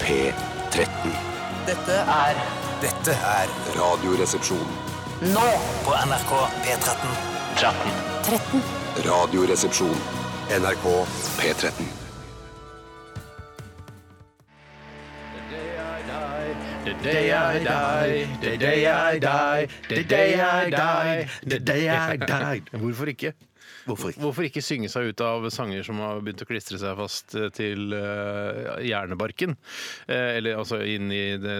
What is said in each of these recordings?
P13. Dette er Dette er Radioresepsjon. nå på NRK P13. 13. Radioresepsjon. NRK P13. The day I die, the day I die, the day I die, the day I die, the day I die. Hvorfor ikke? Hvorfor ikke? Hvorfor ikke synge seg ut av sanger som har begynt å klistre seg fast eh, til eh, hjernebarken? Eh, eller altså inn i det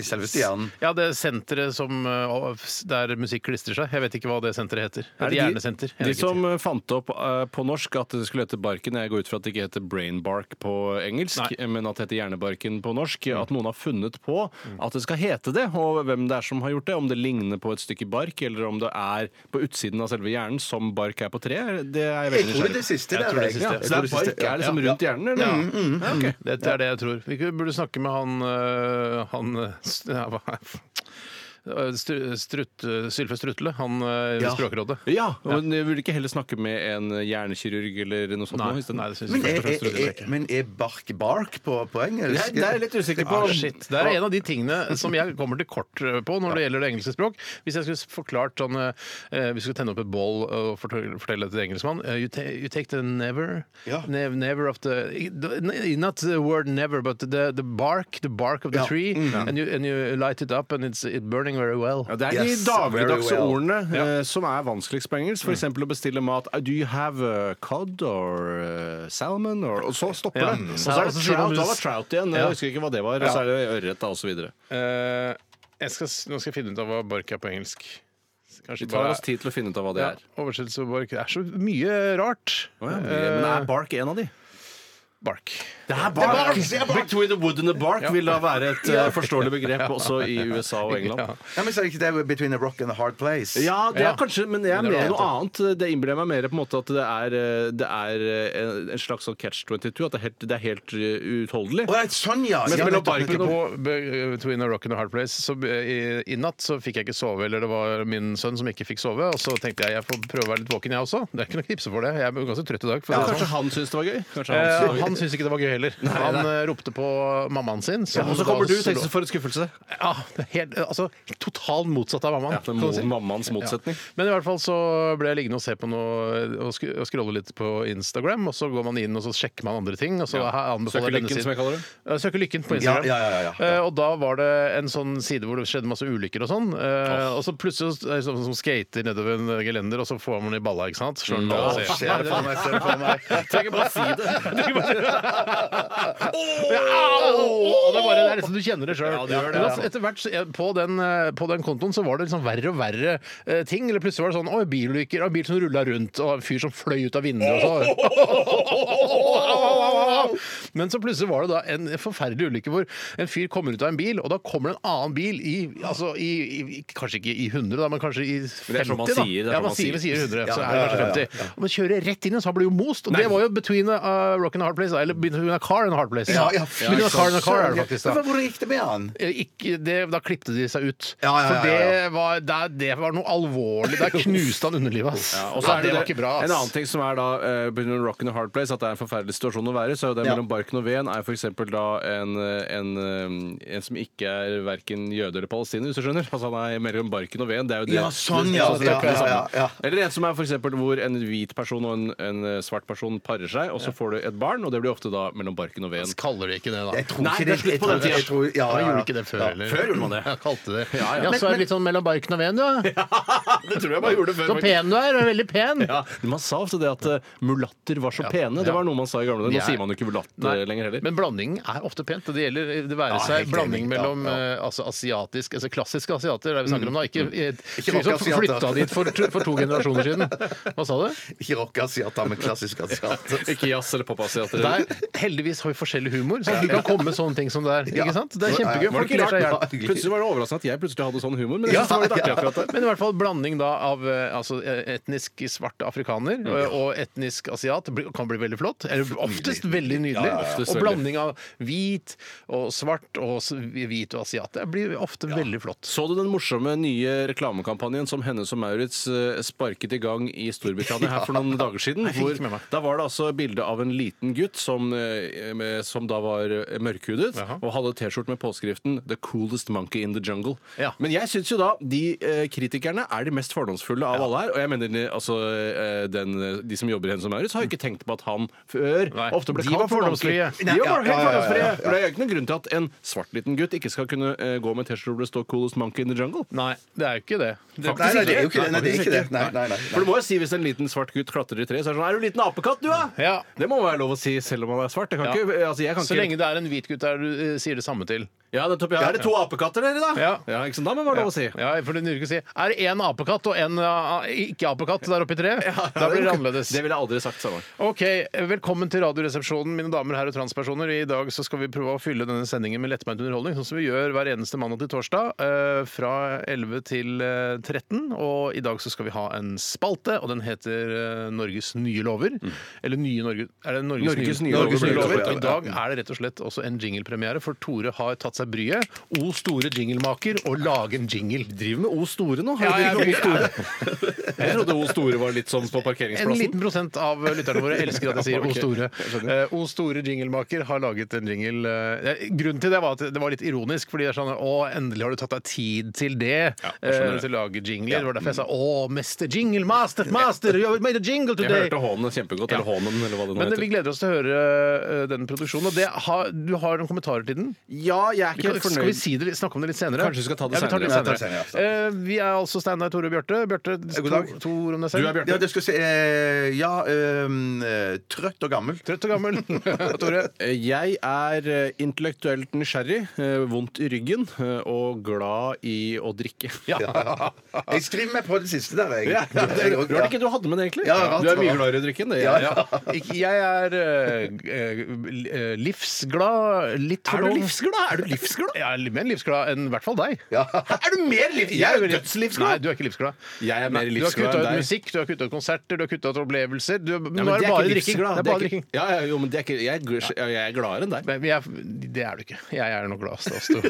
I selveste hjernen. Ja, det senteret som, eh, der musikk klistrer seg. Jeg vet ikke hva det senteret heter. Et Er det de- hjernesenter. Jeg De vet ikke. som eh, fant opp eh, på norsk at det skulle hete Barken Jeg går ut fra at det ikke heter Brain Bark på engelsk, Nei. Mm. eh, men at det heter Hjernebarken på norsk. At noen har funnet på at det skal hete det, og hvem det er som har gjort det. Om det ligner på et stykke bark, eller om det er på utsiden av selve hjernen, som bark er på tre. Det er jeg veldig Jeg tror nysgjerrig det er det siste. Jeg der, tror det er jeg. siste. ja, Jeg så det er bark er liksom rundt hjernen, eller? Ja. Ja, ok. Det er det jeg tror. Vi kunne- burde snakke med han øh, Han øh, s- ja, hva er det? Øh, Stru- Strutt, øh, Sylfe Strutle, han øh, i Ja. Språkrådet. Ja, men jeg Vil ikke heller snakke med en hjernekirurg eller noe sånt? Nei, nå, i stedet? nei, det syns Men jeg først er, og fremst er, Strutle er, ikke. men er bark bark på, på Det engelsk? er- det er jeg litt usikker på. Ah, shit. Det er en av de tingene som jeg kommer til kort øh, på når det gjelder det engelske språk. Hvis jeg skulle forklart sånn øh, eh, Vi skulle tenne opp et bål og fortelle fortelle det til engelskmann eh, you, ta you take the never Ja. nev- Never of the Not the word never, but the, the bark The bark of the Ja. Mm. tree. And, you, and you light it up, and it's it burning very well. Ja, det er Yes, de dagligdagse very well. ordene eh, som er vanskeligst på engelsk. For eksempel å bestille mat. Do you have uh, cod or uh, salmon? Or, og så stopper Ja. det. Og så er Og så det sier trout. de- Da var trout igjen. Ja. Jeg husker ikke hva det var. Og så er det ørret da, og så videre. Eh, jeg skal, s- nå skal jeg finne ut av hva bark er på engelsk. Kanskje Vi tar oss tid til å finne ut av hva det Ja, er. oversettelse av bark. Det er så mye rart. Å, ja, men Eh, er bark en av de? bark. Det er bark! Between the wood and the bark vil da være et eh, forståelig begrep også i USA og England. Ja. Ja, men så er det ikke det Between a rock and a hard place? Ja, det Ja. er kanskje, men jeg er Men det mer er noe noe annet. Det innbiller jeg meg mer på en måte at det er, eh, det er eh, en- en slags sånn catch 22, at det er helt, det er helt eh, uutholdelig. Å, nei, sånn, ja! Men ja, mellom nettopp, barken nettopp. På Be- Between a Rock and a Hard Place så, eh, i, I natt så fikk jeg ikke sove, eller det var min sønn som ikke fikk sove. Og så tenkte jeg jeg får prøve å være litt våken, jeg også. Det er ikke noe knipse for det. Jeg er ganske trøtt i dag. For å si det sånn. Kanskje han syntes det var gøy? Kanskje Eh, han han syntes det var gøy. syntes ikke det var gøy heller. han eh, ropte på mammaen sin. som Og da så kommer du, også- tenk så for en skuffelse. Ja, det er helt, altså, totalt motsatt av mammaen. Ja, det er kan du si. mo- mammaens motsetning. Ja. Men i hvert fall så ble jeg liggende og se på noe og sk- og scrolle litt på Instagram, og så går man inn og så sjekker man andre ting. Og så Ja. her anbefaler Søker denne lykken, siden. som jeg kaller det. Ja, Søker lykken på Instagram. Ja, ja, ja, ja, ja. Eh, Og da var det en sånn side hvor det skjedde masse ulykker og sånn. Eh, Og så plutselig så- er det sånn som skater nedover en gelender, og så får man i balla, ikke sant? Slår Mm. den av og Å, ser. Ser det for meg, ser det for meg. Trenger bare å si det. Trenger bare- Au! Og Det er bare- det er liksom du kjenner det sjøl. Men altså, etter hvert så- på den, eh, på den kontoen så var det liksom verre og verre eh, ting. Eller plutselig var det sånn Oi, bilulykker. Og bil som rulla rundt, og en fyr som fløy ut av vinduet og så Au, au, au, au. Men så plutselig var det da en forferdelig ulykke hvor en fyr kommer ut av en bil, og da kommer det en annen bil i, altså i, i Kanskje ikke i 100, da, men kanskje i 50. det er sånn man da. sier, det er ja, sånn man man sier, sier. sier 100, så Ja, er det ja, kanskje ja, 50. Og man kjører rett inn, og så han blir jo most. Og det var jo between a uh, rock and a hard place, eller between a car and a hard place. Ja, ja, fy between a car and a car er det søren. faktisk Men da. Hvordan gikk det med han? Eh, Ikke, det, da klippte de seg ut. Ja, ja, ja, For ja, ja. det var, der, det var noe alvorlig. Der knuste han underlivet, ass. Ja, og så er det, det var ikke bra, En annen ass. ting som er da eh, på grunn av rock and a hard place, at det er en forferdelig situasjon å være i, så er jo det Ja. mellom Barken og Ven er f.eks. da en, en, eh, en som ikke er verken jøde eller palestiner, hvis du skjønner. Altså han er mellom Barken og Ven. Det er jo det. Ja, sånn, ja, det- det- det- det- det- det- det- ja, ja, ja. Eller en som er for eksempel hvor en hvit person og en, en eh, svart person parer seg, og så får du et barn, og det blir ofte da mellom Barken og Ven. Så Kaller de ikke det, da? Jeg tror Nei, ikke det er slutt jeg på tror- den tida. jeg tror- ja, Han ja, gjorde ja. ikke det før Ja. heller. før gjorde man det. Ja, kalte det. Ja, Ja, ja. så er det litt sånn mellom barken og veden, du. ja. Det tror jeg man gjorde Så pen du er. du er Veldig pen. Ja, men Man sa ofte det at eh, mulatter var så pene. Det ja. var noe man sa i gamle dager. De Nå er- sier man jo ikke mulatt Nei, eh, lenger heller. Men blandingen er ofte pent. og Det gjelder det være Ja, seg helt blanding enig. Ja, mellom ja. eh, altså asiatisk, altså klassiske asiater, det er vi snakker Mm. om da. Ikke, Ikke ikke som rockasiater. flytta dit for, to- for to generasjoner siden. Hva sa du? Ikke rockeasiater, men klassisk asiater. Ikke jazz eller popasiater. Der, heldigvis har vi forskjellig humor, så det kan komme sånne ting som det er. Ja. Ikke sant? Det er Ja, ja. kjempegøy. Var det Folk ikke ler seg i rart? hjel. hjel. Plutselig var det overraskende at jeg plutselig hadde sånn humor. Men jeg synes det var litt artig akkurat det. Men i hvert fall blanding da av eh, altså, eh, etnisk svart afrikaner eh, og etnisk asiat bli- kan bli veldig flott. Eller oftest veldig nydelig. ja, ja. Oftest Og veldig. blanding av hvit og svart og s- hvit og asiat. Det blir ofte veldig flott. Så du den morsomme nye reklamekampanjen som Hennes og Maurits eh, sparket i gang i Storbritannia her for noen dager siden? fikk Hvor, med meg. da var det altså bilde av en liten gutt som, eh, med, som da var eh, med mørkhudet Jaha. og hadde T-skjorte med påskriften 'The coolest monkey in the jungle'. Ja. Men jeg syns jo da de eh, kritikerne er de mest fordomsfulle av alle her. Og jeg mener eh, altså eh, den, eh, de som jobber i Hennes og Maurits, har jo ikke tenkt på at han før Nei, ofte ble de kalt var for monkey. fordomsfrie. De var helt ja, ja, ja, fordomsfrie. ja. For det er jo ikke noen grunn til at en svart liten gutt ikke skal kunne eh, gå med T-skjorte hvor det står 'Coolest monkey in the jungle'. Nei, det er jo ikke det. det Nei, nei, det er jo ikke det. Nei, det er ikke det. Nei, nei, nei. For du må jo si Hvis en liten svart gutt klatrer i tre, så er det sånn 'Er du en liten apekatt, du, da?' Ja. Det må være lov å si selv om han er svart. Jeg kan Ja. ikke, altså, jeg kan så ikke lenge det er en hvit gutt der du eh, sier det samme til. Ja, nettopp. Ja. Er det to apekatter, dere, da? Ja. ikke sant? Da må det være lov å si. Ja, for det nytter ikke å si Er det én apekatt og én ikke-apekatt der oppe i treet? da blir det annerledes. Det ville jeg aldri sagt sammen. Ok, Velkommen til Radioresepsjonen, mine damer og herrer og transpersoner. I dag så skal vi prøve å fylle denne sendingen med lettbeint underholdning, sånn som vi gjør hver eneste mandag til torsdag eh, fra 11 til eh, 13. Og i dag så skal vi ha en spalte, og den heter eh, Norges nye lover. Eller nye Norge... Er det Norges, Mm. Norges nye nye, lover, Norges nye blir lover? det. Og i dag er det rett og slett også en jinglepremiere, for Tore har tatt seg bryet, o store jinglemaker, å lage en jingle. Driver med O store nå. Ja, Har du jeg- drivet med O store? jeg trodde O store var litt sånn En på liten parkeringsplassen. prosent av lytterne våre elsker at jeg sier O Ok, Store. jeg skjønner. Eh, o Store jinglemaker har laget en jingle eh, eh, Grunnen til det var at det var litt ironisk, fordi det er sånn Å, endelig har du tatt deg tid til det. jeg skjønner eh, det. til å lage jingler. Det var derfor jeg sa Å, mester jingle, master, master, you made a jingle Jeg today. hørte hånen kjempegodt. Eller hånen, eller hva det nå Men eh, heter. vi gleder oss til å høre eh, den produksjonen. Og det har, du har noen kommentarer til den? Ja, jeg er Vi kan, skal vi si det, snakke om det litt senere? Kanskje vi skal ta det Ja, vi tar senere. Ja, ta det senere, Eh, vi er altså Steinar, Tore og Bjarte. Bjarte, God dag. to, to ord om deg selv. Du er Bjarte. Ja, det skal jeg si eh, Ja, ehm, eh, trøtt og gammel. Trøtt og gammel. Tore. Eh, Jeg er eh, intellektuelt nysgjerrig, eh, vondt i ryggen eh, og glad i å drikke. Ja. Jeg skriver meg på det siste der, jeg. Ja, det Jeg- var det ikke du hadde med det, egentlig? Ja, rart, du er mye rart. gladere i å drikke enn det. Ja, ja. Ikke- Jeg er eh, g- eh, livsglad litt for Er du dum. livsglad? Er du livsglad? Jeg er litt mer livsglad enn i hvert fall deg. Er du mer liv... Jeg Jeg er er jo Nei, dødslivsglad! du er ikke livsglad. Jeg er mer Nei, du har livsglad kutta ut enn deg. musikk, du har kutta ut konserter, du har kutta ut opplevelser. Du, Ja, nå men er det ikke bare drikking. livsglad. Det er Det bare ikke- drikking. Ja, ja, jo, men det er ikke... jeg, er gl- jeg er gladere enn deg. Men jeg, det er du ikke. Jeg er noe glad hos oss to.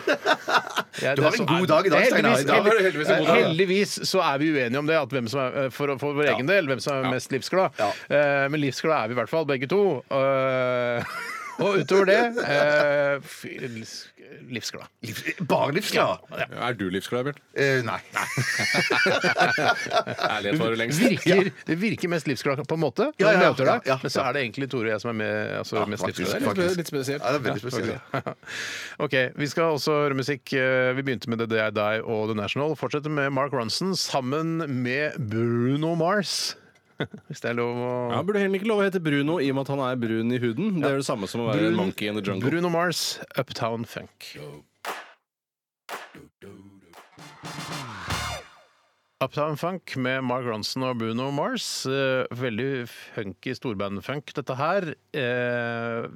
Jeg- Du har det er så- en god dag i dag, Steinar. Heldigvis, I dag var det heldigvis en god dag. heldigvis så er vi uenige om det, at hvem som er, eh, for, for vår egen del, hvem som er mest livsglad. Ja. Eh, Men livsglad er vi i hvert fall, begge to. Eh, Og utover det eh, fy- livs- livsglad. Liv- Bare livsglad? Er du livsglad, Bjørn? Eh, nei. Ærlighet varer lengst. Virker, det virker mest livsglad på en måte, Ja, når vi ja, møter ja, deg, ja, men så er det egentlig Tore og jeg som er med, altså, mest faktisk, livsglad. Det er litt spesielt. Ja, det er veldig spesielt. Ja, Ok, Vi skal også høre musikk. Eh, Vi begynte med det, det er deg og The National. Fortsetter med Mark Ronson sammen med Bruno Mars. Hvis det er lov å Ja, burde heller ikke lov å hete Bruno i og med at han er brun i huden. Det er det samme som å være Brun- monkey in the jungle. Bruno Mars, Uptown Funk. Uptown Funk med Mark Ronson og Bruno Mars. Eh, Veldig funky storbandfunk, dette her. Eh,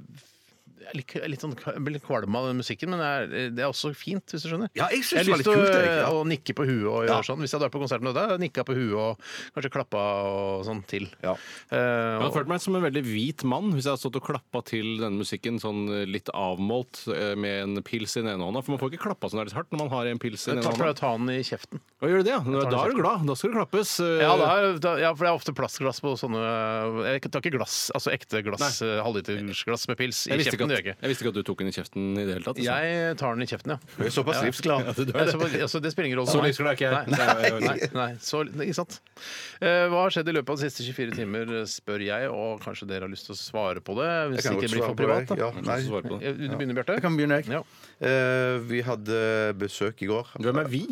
Jeg liker- jeg er litt sånn, jeg blir litt kvalm av den musikken, men det er, det er også fint, hvis du skjønner. Ja, jeg Jeg syns har det var lyst til litt å, kult. Jeg, ja. å nikke på huet og gjøre Ja. sånn. Hvis jeg hadde vært på konsert med deg, nikka på huet og kanskje klappa og sånn til. Ja. Eh, Jeg og, hadde følt meg som en veldig hvit mann hvis jeg hadde stått og klappa til denne musikken sånn eh, litt avmålt eh, med en pils i den ene hånda. For man får ikke klappa sånn der litt hardt når man har en pils i den ta ene hånda. plautanen i kjeften. Og gjør du det, ja? tar Da den er du glad. Da skal du klappes. eh, Ja, det er, da- ja, for det er ofte plastglass på sånne Jeg tar ikke glass, altså ekte glass, eh, halvlitersglass med pils i jeg, visste ikke kjeften. gjør at, Jeg, ikke. jeg visste ikke at du tok den i kjeften i det hele tatt. altså. jeg tar den i kjeften, ja. Sånn. Du er såpass livsglad. Ja, du er Ja, det. så, altså, det spiller ingen rolle. Så lyst skal det ikke jeg. Nei, Nei. nei, nei, så, nei, ikke sant. Eh, Hva har skjedd i løpet av de siste 24 timer, spør jeg, og kanskje dere har lyst til å svare på det? Hvis kan ikke godt det blir svare for på privat, det. da. Ja, nei. Så svare på det. Eh, Du begynner, Bjarte. Jeg kan begynne, jeg. Ja. Eh, vi hadde besøk i går. Hvem er vi?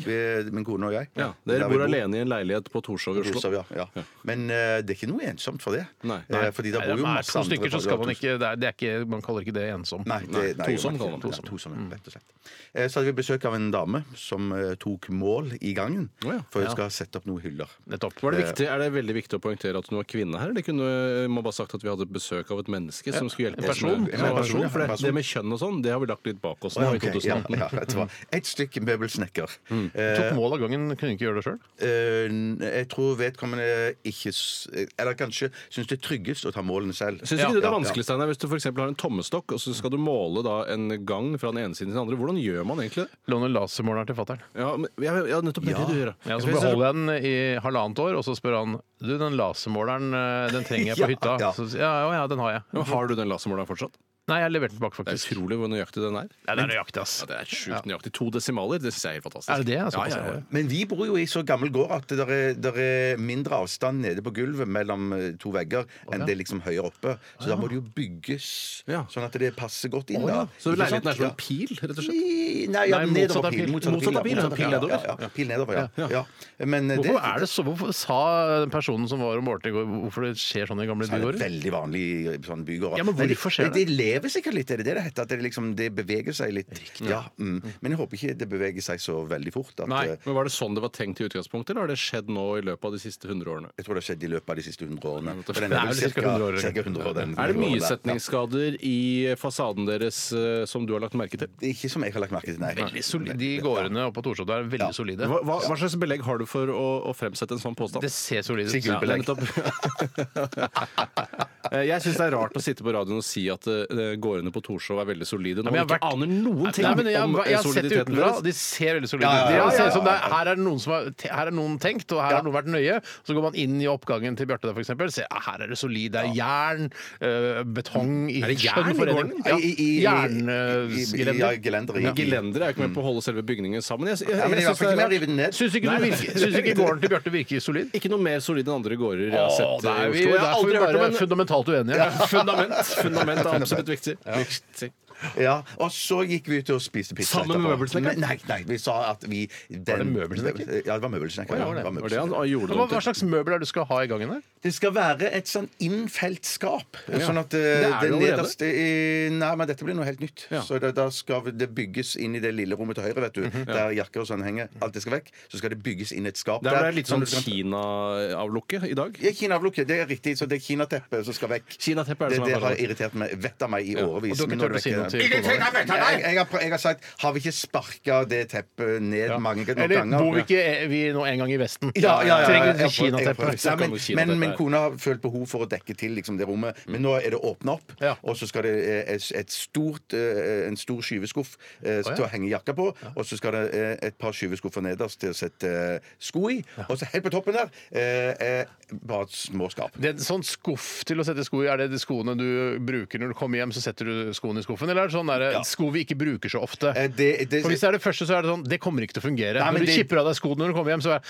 Min kone og jeg. Ja, dere Der vi bor alene i en leilighet på Torshov i Oslo. Torshov, ja, ja. Men eh, det er ikke noe ensomt for det. Nei. Eh, fordi der Nei, bor det jo er masse to andre stykker, så folk. skal man ikke, det er, det er ikke Man kaller ikke det ensom. Nei, det, nei, tosom jo, kaller man det. ja, tosom, rett og slett. Eh, Så hadde vi besøk av en dame som eh, tok mål i gangen. Å ja. For hun skal sette opp noen hyller. Nettopp. Var det viktig, er det veldig viktig å poengtere at hun var kvinne her? Eller kunne man bare sagt at vi hadde besøk av et menneske som skulle hjelpe En oss? med- person. Ja, en person, Ja, for det, en person. det med kjønn og sånn, det har vi Mm. lagt litt bak oss nå Ja, i ok, ja, 2018. ja, vet du hva. Et stykke møbelsnekker. Tok mål av gangen, kunne ikke gjøre det sjøl? Eh, jeg tror vedkommende ikke s- Eller kanskje syns det er tryggest å ta målene selv. Syns ikke Ja, du det er ja, vanskelig, Steinar, hvis du for eksempel har en tommestokk, og så skal du måle da en gang fra den ene siden til den andre? Hvordan gjør man egentlig det? Låner lasermåleren til fatter'n. Ja, men, ja, ja nettopp det er Ja. det du gjør. Ja, så beholder jeg den i halvannet år, og så spør han Du, den lasermåleren eh, den trenger jeg på hytta. ja. Så, sier jeg, ja, ja, den har jeg. Men har du den lasermåleren fortsatt? Nei, jeg leverte den tilbake, Det er faktisk. utrolig hvor nøyaktig den er. Nei, det er nøyaktig, ass. Ja, det er sjukt nøyaktig. To desimaler, det syns jeg er helt fantastisk. Er det altså? det? Ja, Ja, såpass, ja, ja. Men vi bor jo i så gammel gård at det er, der er mindre avstand nede på gulvet mellom eh, to vegger enn det er liksom høyere oppe. Så da må det jo bygges Ja. sånn at det passer godt inn da. Så Ikke leiligheten er sant? som Ja. en pil, rett og slett? I- Nei, ja, Nei, motsatt nedover av pil. pilen. Motsatt av pil, ja. Pil nedover. Ja, ja. Pil nedover, ja. ja. Men eh, Hvorfor er det så, hvorfor sa den personen som var og målte i går, hvorfor det skjer sånn i gamle så er det bygårder? veldig vanlig i sånne bygårder. Ja, men de- hvorfor skjer De lever sikkert litt, er det det det heter? At det, liksom, det beveger seg litt. Ja, mm. Men jeg håper ikke det beveger seg så veldig fort. At, Nei, eh, men Var det sånn det var tenkt i utgangspunktet, eller har det skjedd nå i løpet av de siste 100 årene? Jeg tror det har skjedd i løpet av de siste 100 årene. Det er For den vel vel cirka cirka- 100 år. cirka 100 år, den- Er det den gården mye der. setningsskader i fasaden deres eh, som du har lagt merke til? Ja, Ikke som jeg har lagt merke til, nei. Veldig solide. De gårdene oppe på Torshov er veldig solide. Hva, hva, hva slags belegg har du for å, å fremsette en sånn påstand? Det ser solide ut. Ja. Sigurd Ja, belegg. nettopp. Eh, Jeg syns det er rart å sitte på radioen og si at eh, gårdene på Torshov er veldig solide, Ja, men når man jeg ikke har vært- aner noen ting Nei, men jeg, om jeg, eh, har sett det soliditeten utenfra, deres. de ser veldig solide ut. Ja, ja, ja, De ser ja, ut som det er- ja, ja. Her er det noen som har, te- her er noen tenkt, og her har noen vært nøye. Så går man inn i oppgangen til Bjarte der, for eksempel, ser ah, her er det solid. Det er jern, øh, betong i Er det skjønn jern i forening. gården? Ja, I- i- i- i- i- ja, gelender, ja. Gelender. Gelendere er jo ikke med på å holde selve bygningen sammen. Jeg, jeg, Mm. Ja, jeg, men i hvert synes fall det er ikke med å rart. rive den ned. Syns ikke, du virker, syns ikke gården til Bjarte virker solid? ikke noe mer solid enn andre gårder jeg har Åh, sett nei, eh, i vi Oslo. er Jeg har derfor aldri hørt om bare en fundamentalt uenige. Fundament, fundament er absolutt viktig. viktig. Ja, og så gikk vi ut og spiste pizza Sammen med møbelsnekkeren? Nei, nei, vi sa at vi den, Var det møbelsnekker? Ja, det var møbelsnekker. ja, det var Var det møbelsnekker. han han gjorde Hva, hva det til? slags møbel er det du skal ha i gangen her? Det skal være et sånn innfelt skap. Sånn at eh, Det er det det allerede. nederste i- Nei, men dette blir noe helt nytt. Ja. Så da, da skal vi- det bygges inn i det lille rommet til høyre, vet du. Der jakker og sånn henger. Alt det skal vekk. Så skal det bygges inn et skap Der ble det litt sånn sånn at du kan- Kina-avlukke i dag. Ja, Kina-avlukket. Det er riktig. Så det er kinateppet som skal vekk. Kinateppet er det det, som er det har forskjellen. irritert meg, vettet meg i årevis. Og du har men ikke nå er turt å det si vekk noe til kona? di? igjen. jeg, jeg, har, prø- jeg har sagt Har vi ikke sparka det teppet ned mange nok Eller ganger? bor vi ikke eh, vi nå en gang i Vesten? ja, ja, ja, ja, Trenger jeg ikke prøver- jeg prøver. kinateppe. Snakker om Nei, Men, kinateppet men min her. kone har følt behov for å dekke til liksom, det rommet. Men nå er det åpna opp, Ja. og så skal det eh, et, et stort, eh, en stor skyveskuff eh, til å henge jakka på. Og så skal det eh, et par skyveskuffer nederst til å sette eh, sko i. Og så helt på toppen der eh, eh, bare et små skap. Det er en sånn skuff til å sette sko i, er det de skoene du bruker når du kommer hjem, så setter du skoene i skuffen? Eller er det sånn der, sko vi ikke bruker så ofte? Eh, det- det- For hvis det er det første, så er det sånn Det kommer ikke til å fungere. Nei, når men du det- kipper av deg skoene når du kommer hjem, så er,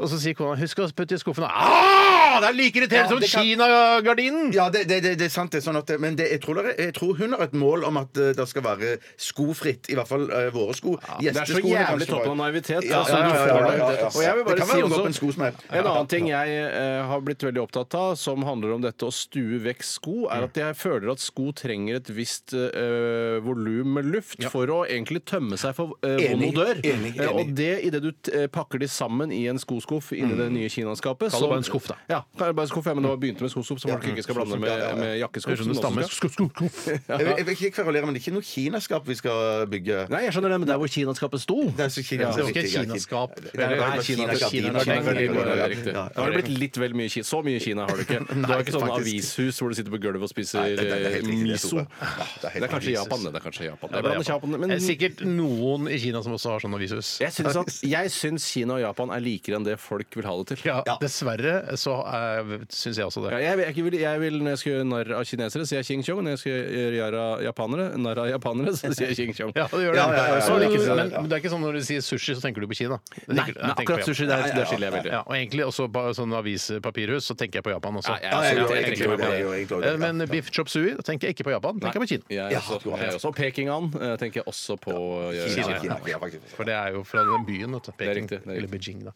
og så sier kona 'husk å putte i skuffen' og ah, Det er like Ja, irriterende det som kan- kinagardinen! Ja, det, det, det, det er sant. det er sånn at, Men det, jeg, tror det, er- jeg tror hun har et mål om at eh, det skal være skofritt. I hvert fall eh, våre sko. Det er så jævlig toppen av naivitet. Ja, altså, ja, du ja, får ja, det. ja, ja, ja. Og jeg vil Det bare kan være si noe også på en sko som er- En annen ting jeg eh, har blitt veldig opptatt av, som handler om dette å stue vekk sko, er at jeg føler at sko trenger et visst uh, volum med luft for å egentlig tømme seg for eh, vond Enig, odør. enig, Eh, Og enig. det idet du t- eh, pakker de sammen i en skoskuff inni det nye kinaskapet Kall det som- bare en skuff, da. Ja, kall det bare en skuff, ja, men det var- begynte med skoskuff, så folk ikke skal blande med, med jakkeskuff. Høres ut som det som også stammer. skal- Skuff, skuff, skuff. Jeg, vil- jeg vil ikke kverulere, men det er ikke noe kinaskap vi skal bygge. Nei, jeg skjønner det, men der hvor kinaskapet sto Det er så Kina, Det var ikke et riktig, ja, kinaskap. Nei, det var Nei, bare Kina, Kina- Kina, Kina- Kina, Kina, Kina- Kina, Kina- det ja, er riktig. ja, Da har det blitt litt vel mye Kina. Så mye Kina har det ikke. Du har ikke sånne faktisk. avishus hvor du sitter på gulvet og spiser Nei, det- det er helt riktig, det, miso. Tore. Ja, det er helt Det er kanskje riktig. Japan, det. det er kanskje Japan. Det Det er blandet Japan, men er sikkert noen i Kina som også har sånn avishus. jeg syns, at, jeg syns Kina og Japan er likere enn det folk vil ha det til. Ja, dessverre så uh, syns jeg også det. Ja, jeg, vil- jeg, vil, jeg vil Når jeg skal gjøre narr av kinesere, sier jeg Ching Chong. Når jeg skal gjøre narr av japanere, narr av japanere, så sier jeg Ching Chong. Ja, det gjør det. Ja, ja, ja, ja. Så det er ikke, Ja, ja, ja. men, men det er ikke sånn når du sier sushi, så tenker du på Kina. Det tenker- Nei, jeg nei, tenker på akkurat Japan. sushi der, der skiller jeg veldig. Ja, og egentlig også på sånn avispapirhus, så tenker jeg på Japan også. Nei, jeg- Ja, jeg jeg- gjorde jeg- egentlig jeg- det, jeg gjorde egentlig det. Eh, Men biff chop sui da tenker jeg ikke på Japan, da tenker jeg på Kina. Jeg, Ja, også, du har jeg rett. også. Pekingan eh, tenker jeg også på. eh, Kina- Kina. Kina- ja, faktisk. For det er jo fra den byen. Vet du, Peking, riktig, det er riktig. Eller Beijing, da.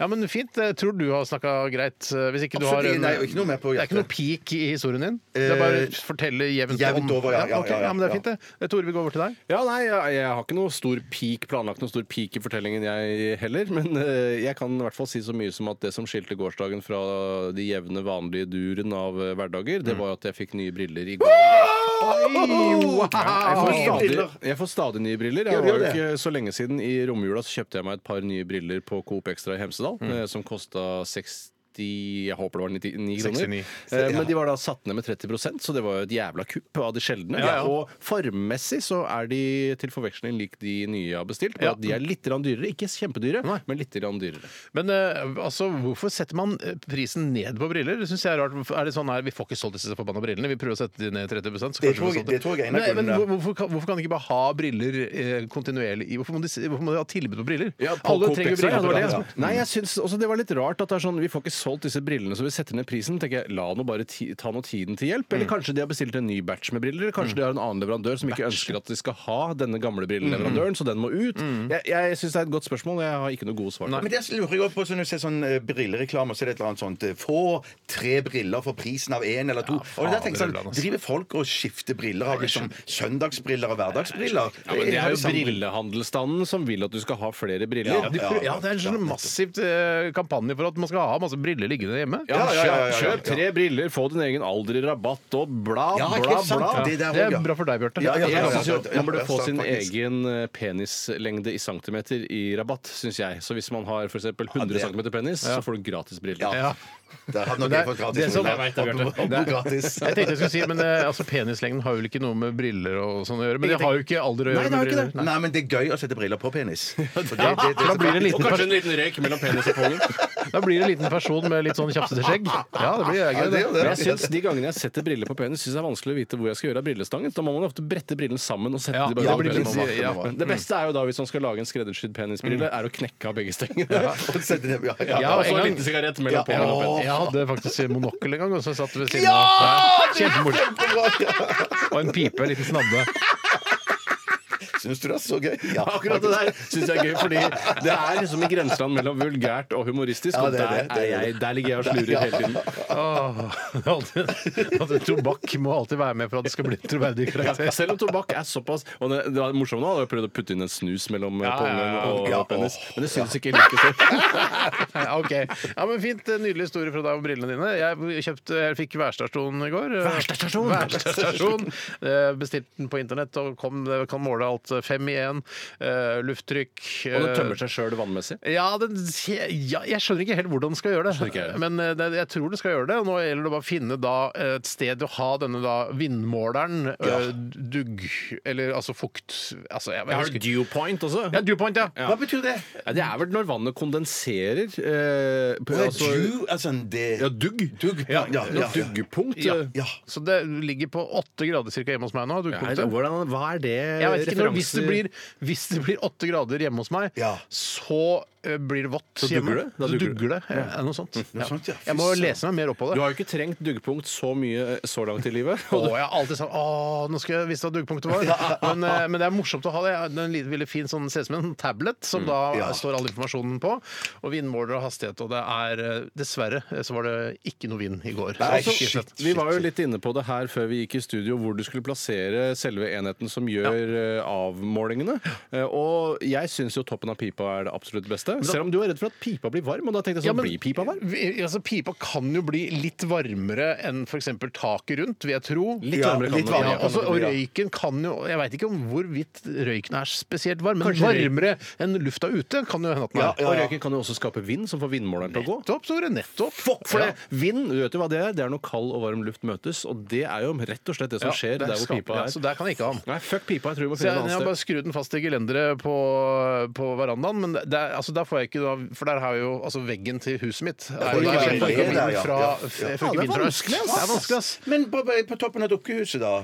Ja, men fint. Jeg tror du har snakka greit. eh, Hvis ikke du Absolutt, har en- nei, og ikke noe mer på Det er ikke noe hjertet. Eh, peak i historien din? Det er bare å fortelle jevnt om? jevnt over, ja, ja, ok, ja, ja, men det er ja. fint, det. Eh, Tore, vi går over til deg. Ja, nei, jeg, jeg har ikke noe stor peak, planlagt noe stor peak i fortellingen jeg heller, men eh, jeg kan i hvert fall si så mye som at det som skilte gårsdagen fra de jevne, vanlige duren av eh, hverdager, det var jo at jeg fikk nye briller i går. Jeg får, Nye stadig, briller. jeg får stadig nye briller. Jeg Gjør du var jo det? ikke så lenge siden I romjula så kjøpte jeg meg et par nye briller på Coop Extra i Hemsedal, eh, som kosta 60 90 Jeg håper det var 99 kroner. 69. Eh, Men de var da satt ned med 30 så det var jo et jævla kupp av de sjeldne. Ja, ja. Og formessig så er de til forveksling lik de nye jeg har bestilt, Ja. bare at de er litt grann dyrere. Ikke kjempedyre, Nei. men litt grann dyrere. Men eh, altså, hvorfor setter man eh, prisen ned på briller? Det syns jeg er rart. Hvorfor Er det sånn her, Vi får ikke solgt disse forbanna brillene, vi prøver å sette de ned 30 så kanskje vi Det tror får jeg- solgt det tror jeg er en av Nei, men grunnene. hvor- hvorfor, kan- hvorfor kan de ikke bare ha briller eh, kontinuerlig? i- Hvorfor må, de, s- hvorfor må de ha tilbud på briller? Ja, på Alle Coop trenger Extra, briller. ja, det var det jeg Ja. spurte. Nei, jeg synes også det var litt rart at det er sånn Vi får ikke solgt disse brillene, så vi setter ned prisen. Tenker jeg, La nå bare ti, ta nå tiden til hjelp. Eller kanskje de har bestilt en ny batch med briller. eller Kanskje de har en annen leverandør som ikke ønsker at de skal ha denne gamle brilleleverandøren, så den må ut. Jeg, jeg syns det er et godt spørsmål, og jeg har ikke noe gode svar. på det. Men det lurer jeg også på, så når du ser sånn eh, brillereklame, så er det et eller annet sånt eh, Få tre briller for prisen av én eller to. og fader, der tenker jeg Ulland, sånn, altså. Driver folk og skifter briller av liksom søndagsbriller og hverdagsbriller? Ja, men Det Har er de jo samme- brillehandelsstanden som vil at du skal ha flere briller. Ja, de prøver, ja, det er en sånn massivt eh, kampanje for at man skal ha masse briller liggende hjemme. Ja, Ja, ja, ja, ja, ja. kjøp, kjøp tre briller, få din egen alder i rabatt og bla, Ja, ikke bla, sant? bla. Det der Det også, er ja. bra for deg, Bjarte. Ja, ja, ja, Jeg ja, synes jo ja, ja, Man burde ja, få sant, sin faktisk. egen eh, penislengde i centimeter i rabatt, syns jeg. Så hvis man har f.eks. 100 det- cm penis, så får du gratis briller. Ja. Ja. Der hadde Men nok det er- jeg fått gratis. det som- briller. Jeg vet det, Bjarte. Opp- opp- Det er- gratis. Jeg tenkte jeg skulle si, men eh, altså, Penislengden har vel ikke noe med briller og sånn å gjøre. Men det har jo ikke alder å gjøre. med briller. Nei, men det er gøy å sette briller på penis. For Ja, for da blir det en Og liten kanskje en liten røyk mellom penis og pungen. Da blir det en liten person med litt sånn tjafsete skjegg. Ja, det blir Ja, gøy. det er jo det. det. Men jeg synes De gangene jeg setter briller på penis, syns jeg det er vanskelig å vite hvor jeg skal gjøre av brillestangen. Da må man ofte brette brillene sammen og sette Ja, de bare ja, over det blir hverandre. litt- ja. Men Mm. Det beste er jo da hvis man skal lage en skreddersydd penisbrille, er å knekke av begge stengene. Og sette ned- Mm. ja, ja. Ja, og så en gang- en liten sigarett mellom Ja, pungen og penis. Åh. Jeg hadde faktisk monokkel en gang, og så satt ved siden Ja! av. Det er Kjempemorsomt. kjempebra! Og en pipe, en liten snadde. Syns du det er så gøy? Ja, Akkurat det der syns jeg er gøy, fordi det er liksom i grenseland mellom vulgært og humoristisk. Ja, og det er der, det, det er er jeg, det. der ligger jeg og slurer hele tiden. Åh, det er alltid- alltid- Tobakk må alltid være med for at det skal bli en troverdig karakter. Selv om tobakk er såpass Og det, det var morsomt nå, da jeg prøvde å putte inn en snus mellom eh, Ja, ja, ja. pungen og Ja, penis, åh, men det syns ikke like stort. Ja, ok. Ja, men Fint. Nydelig historie fra deg om brillene dine. Jeg, kjøpte, jeg fikk værstasjon i går. Værstasjon? Værstasjon. Eh, Bestilte den på internett og kom, kan måle alt. Fem i én. eh, Lufttrykk. eh, Og det tømmer seg sjøl vannmessig. Ja, den, ja, jeg skjønner ikke helt hvordan den skal gjøre det. ikke jeg. Men eh, det, jeg tror det skal gjøre det. Og nå gjelder det bare å finne da, eh, et sted å ha denne da, vindmåleren. eh, Dugg Eller altså fukt altså, jeg, jeg Har du husker- dew point også? ja, dewpoint, ja. Ja. Hva betyr det? Ja, det er vel når vannet kondenserer. Eh, på- Det er altså, du, altså det ja, dugg. Dugg. Ja, ja, ja. Duggepunkt. Ja. eh. ja. Så det ligger på åtte grader cirka hjemme hos meg nå. Ja, duggpunktet. hvordan, hva er det Jeg vet ikke, når, hvis, det referanser- blir, hvis det blir åtte grader hjemme hos meg, Ja. så eh, blir det vått Så hjemme. dugger det? Da så dugger dugger det. Ja, er det noe sånt. Ja. sånt, ja. Fy Jeg må søren. lese meg mer opp på Du det. har jo ikke trengt duggpunkt så mye eh, så langt i livet. Å, jeg har alltid sagt Å, nå skulle jeg visst hva duggpunktet var. Men, eh, men det er morsomt å ha det. Jeg har En liten, veldig fin sånn, ser ut som en tablet som Mm, da Ja. står all informasjonen på. Og vindmåler og hastighet. Og det er eh, Dessverre eh, så var det ikke noe vind i går. Nei, Så- shit. slett. Altså, Vi var jo litt inne på det her før vi gikk i studio, hvor du skulle plassere selve enheten som gjør eh, avmålingene. Eh, Og jeg syns jo toppen av pipa er det absolutt beste. Selv om du er redd for at pipa blir varm. Og da tenkte jeg Ja, sånn, men- blir pipa varm? Vi, altså, pipa kan jo bli litt varmere enn f.eks. taket rundt, vil jeg tro. Litt Ja, Altså, varmere kan litt det varmere Ja, bli. ja. også, og Ja. røyken kan jo Jeg veit ikke om hvorvidt røyken er spesielt varm, men Kanskje røyk- varmere enn lufta ute kan jo hende at den Ja, er. Og røyken kan jo også skape vind, som får vindmåleren til å gå. Nettopp, Tore. Nettopp. For det, Ja. vind, du vet jo hva det er? Det er når kald og varm luft møtes, og det er jo rett og slett det som Ja, skjer det der hvor skaper- pipa ja, Så er. der kan jeg ikke ha den. Nei, fuck pipa, jeg tror vi Så må finne jeg, et jeg har annet bare sted. skrudd den fast til gelenderet på, på verandaen. Men det er, altså, der får jeg ikke da, For der har jeg jo altså, veggen til huset mitt er jo det der, så er Jeg får ikke veldig- vinden ja, fra, ja. jeg får Ja, ikke det er vinden fra øst. vanskelig, ass. Det er vanskelig, ass. Men på, på toppen av dukkehuset, da?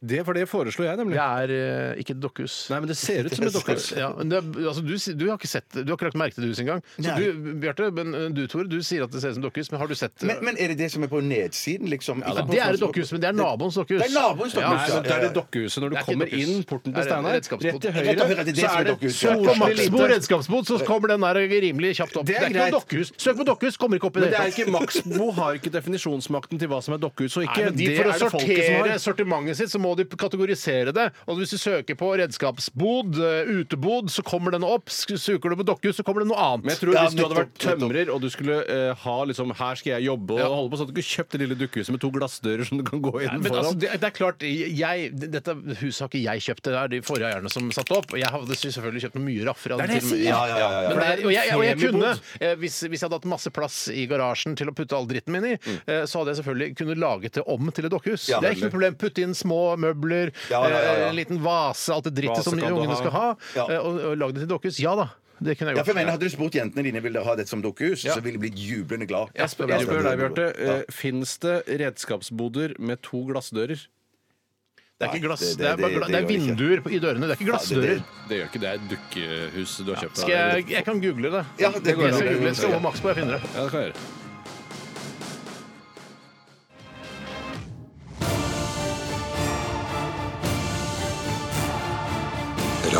Det for det foreslo jeg, nemlig. Det er eh, ikke et dokkehus. Nei, men det ser ut som et dokkehus. Ja, men det, er- altså, du, si- du har ikke sett det. Du har ikke lagt merke til det huset engang. Så Nei. du, Bjarte, men eh, du Tore, du sier at det ser ut som dokkehus, men har du sett det? Men, men er det det som er på nedsiden, liksom? Ja, det er et dokkehus, men det er naboens dokkehus. Det er naboens dokkehus, Nei, men det er det dokkehuset når du Det er ikke kommer dokkehus. inn Det porten til er Steinar. Rett redskapsbod. til Rett til høyre, høyre, det er så det som er er det Søk dokkehus, ja. på solslig Maxbo lite. redskapsbod, så kommer den der rimelig kjapt opp. Det Det er er, ikke noe greit. dokkehus. Søk på dokkehus, kommer ikke opp i Men det det er hele tatt. ikke Maxbo har ikke definisjonsmakten til hva som er dokkehus og Nei, ikke. men de, Det for å er det folket som sortere har. sortimentet sitt, så må må de kategorisere det. Og hvis du søker på redskapsbod, eh, utebod, så kommer den opp. Sk- Suker du på dokkehus, så kommer det noe Men jeg annet. tror Ja, Hvis du hadde vært nettopp, tømrer og du skulle eh, ha liksom Her skal jeg jobbe og Ja. holde på, så hadde du ikke kjøpt det lille dukkehuset med to glassdører som du kan gå inn Nei, men foran. altså, det, det er klart, jeg, dette huset har ikke jeg kjøpt, det er de forrige eierne som satte opp. Jeg hadde selvfølgelig kjøpt noe mye raffere. av Det er det den filmen. jeg Ja, ja, sier. ja, ja. Men det er- Og jeg, og jeg Semibod. kunne, eh, hvis, hvis jeg hadde hatt masse plass i garasjen til å putte all dritten min i, eh, så hadde jeg selvfølgelig kunnet laget det om til et dokkehus. Mm. Ja, det er ikke noe nemlig. problem. Putte inn små møbler, Ja, ja, ja, ja. eh, en liten vase, alt det drittet Vase som kan du ungene ha. skal ha, Ja. eh, og, og lage det til dokkehus. Ja da, det kunne jeg Ja, for jeg mener, gjort. Hadde du spurt jentene dine vil dere ha dette som dukkehus, så ville de blitt jublende glad. Jeg spør, jeg spør deg, Bjarte. Ja. Fins det redskapsboder med to glassdører? Det er ikke glass, Nei, det- det er, det- bare, gla- det det er gjør jeg vinduer på- i dørene, det er ikke glassdører. Det gjør ikke det. Det er et dukkehus du har kjøpt. Skal jeg, jeg kan google det. Ja, det går jeg skal an. google det, så må Max på, jeg finner det. Ja, det kan jeg gjøre.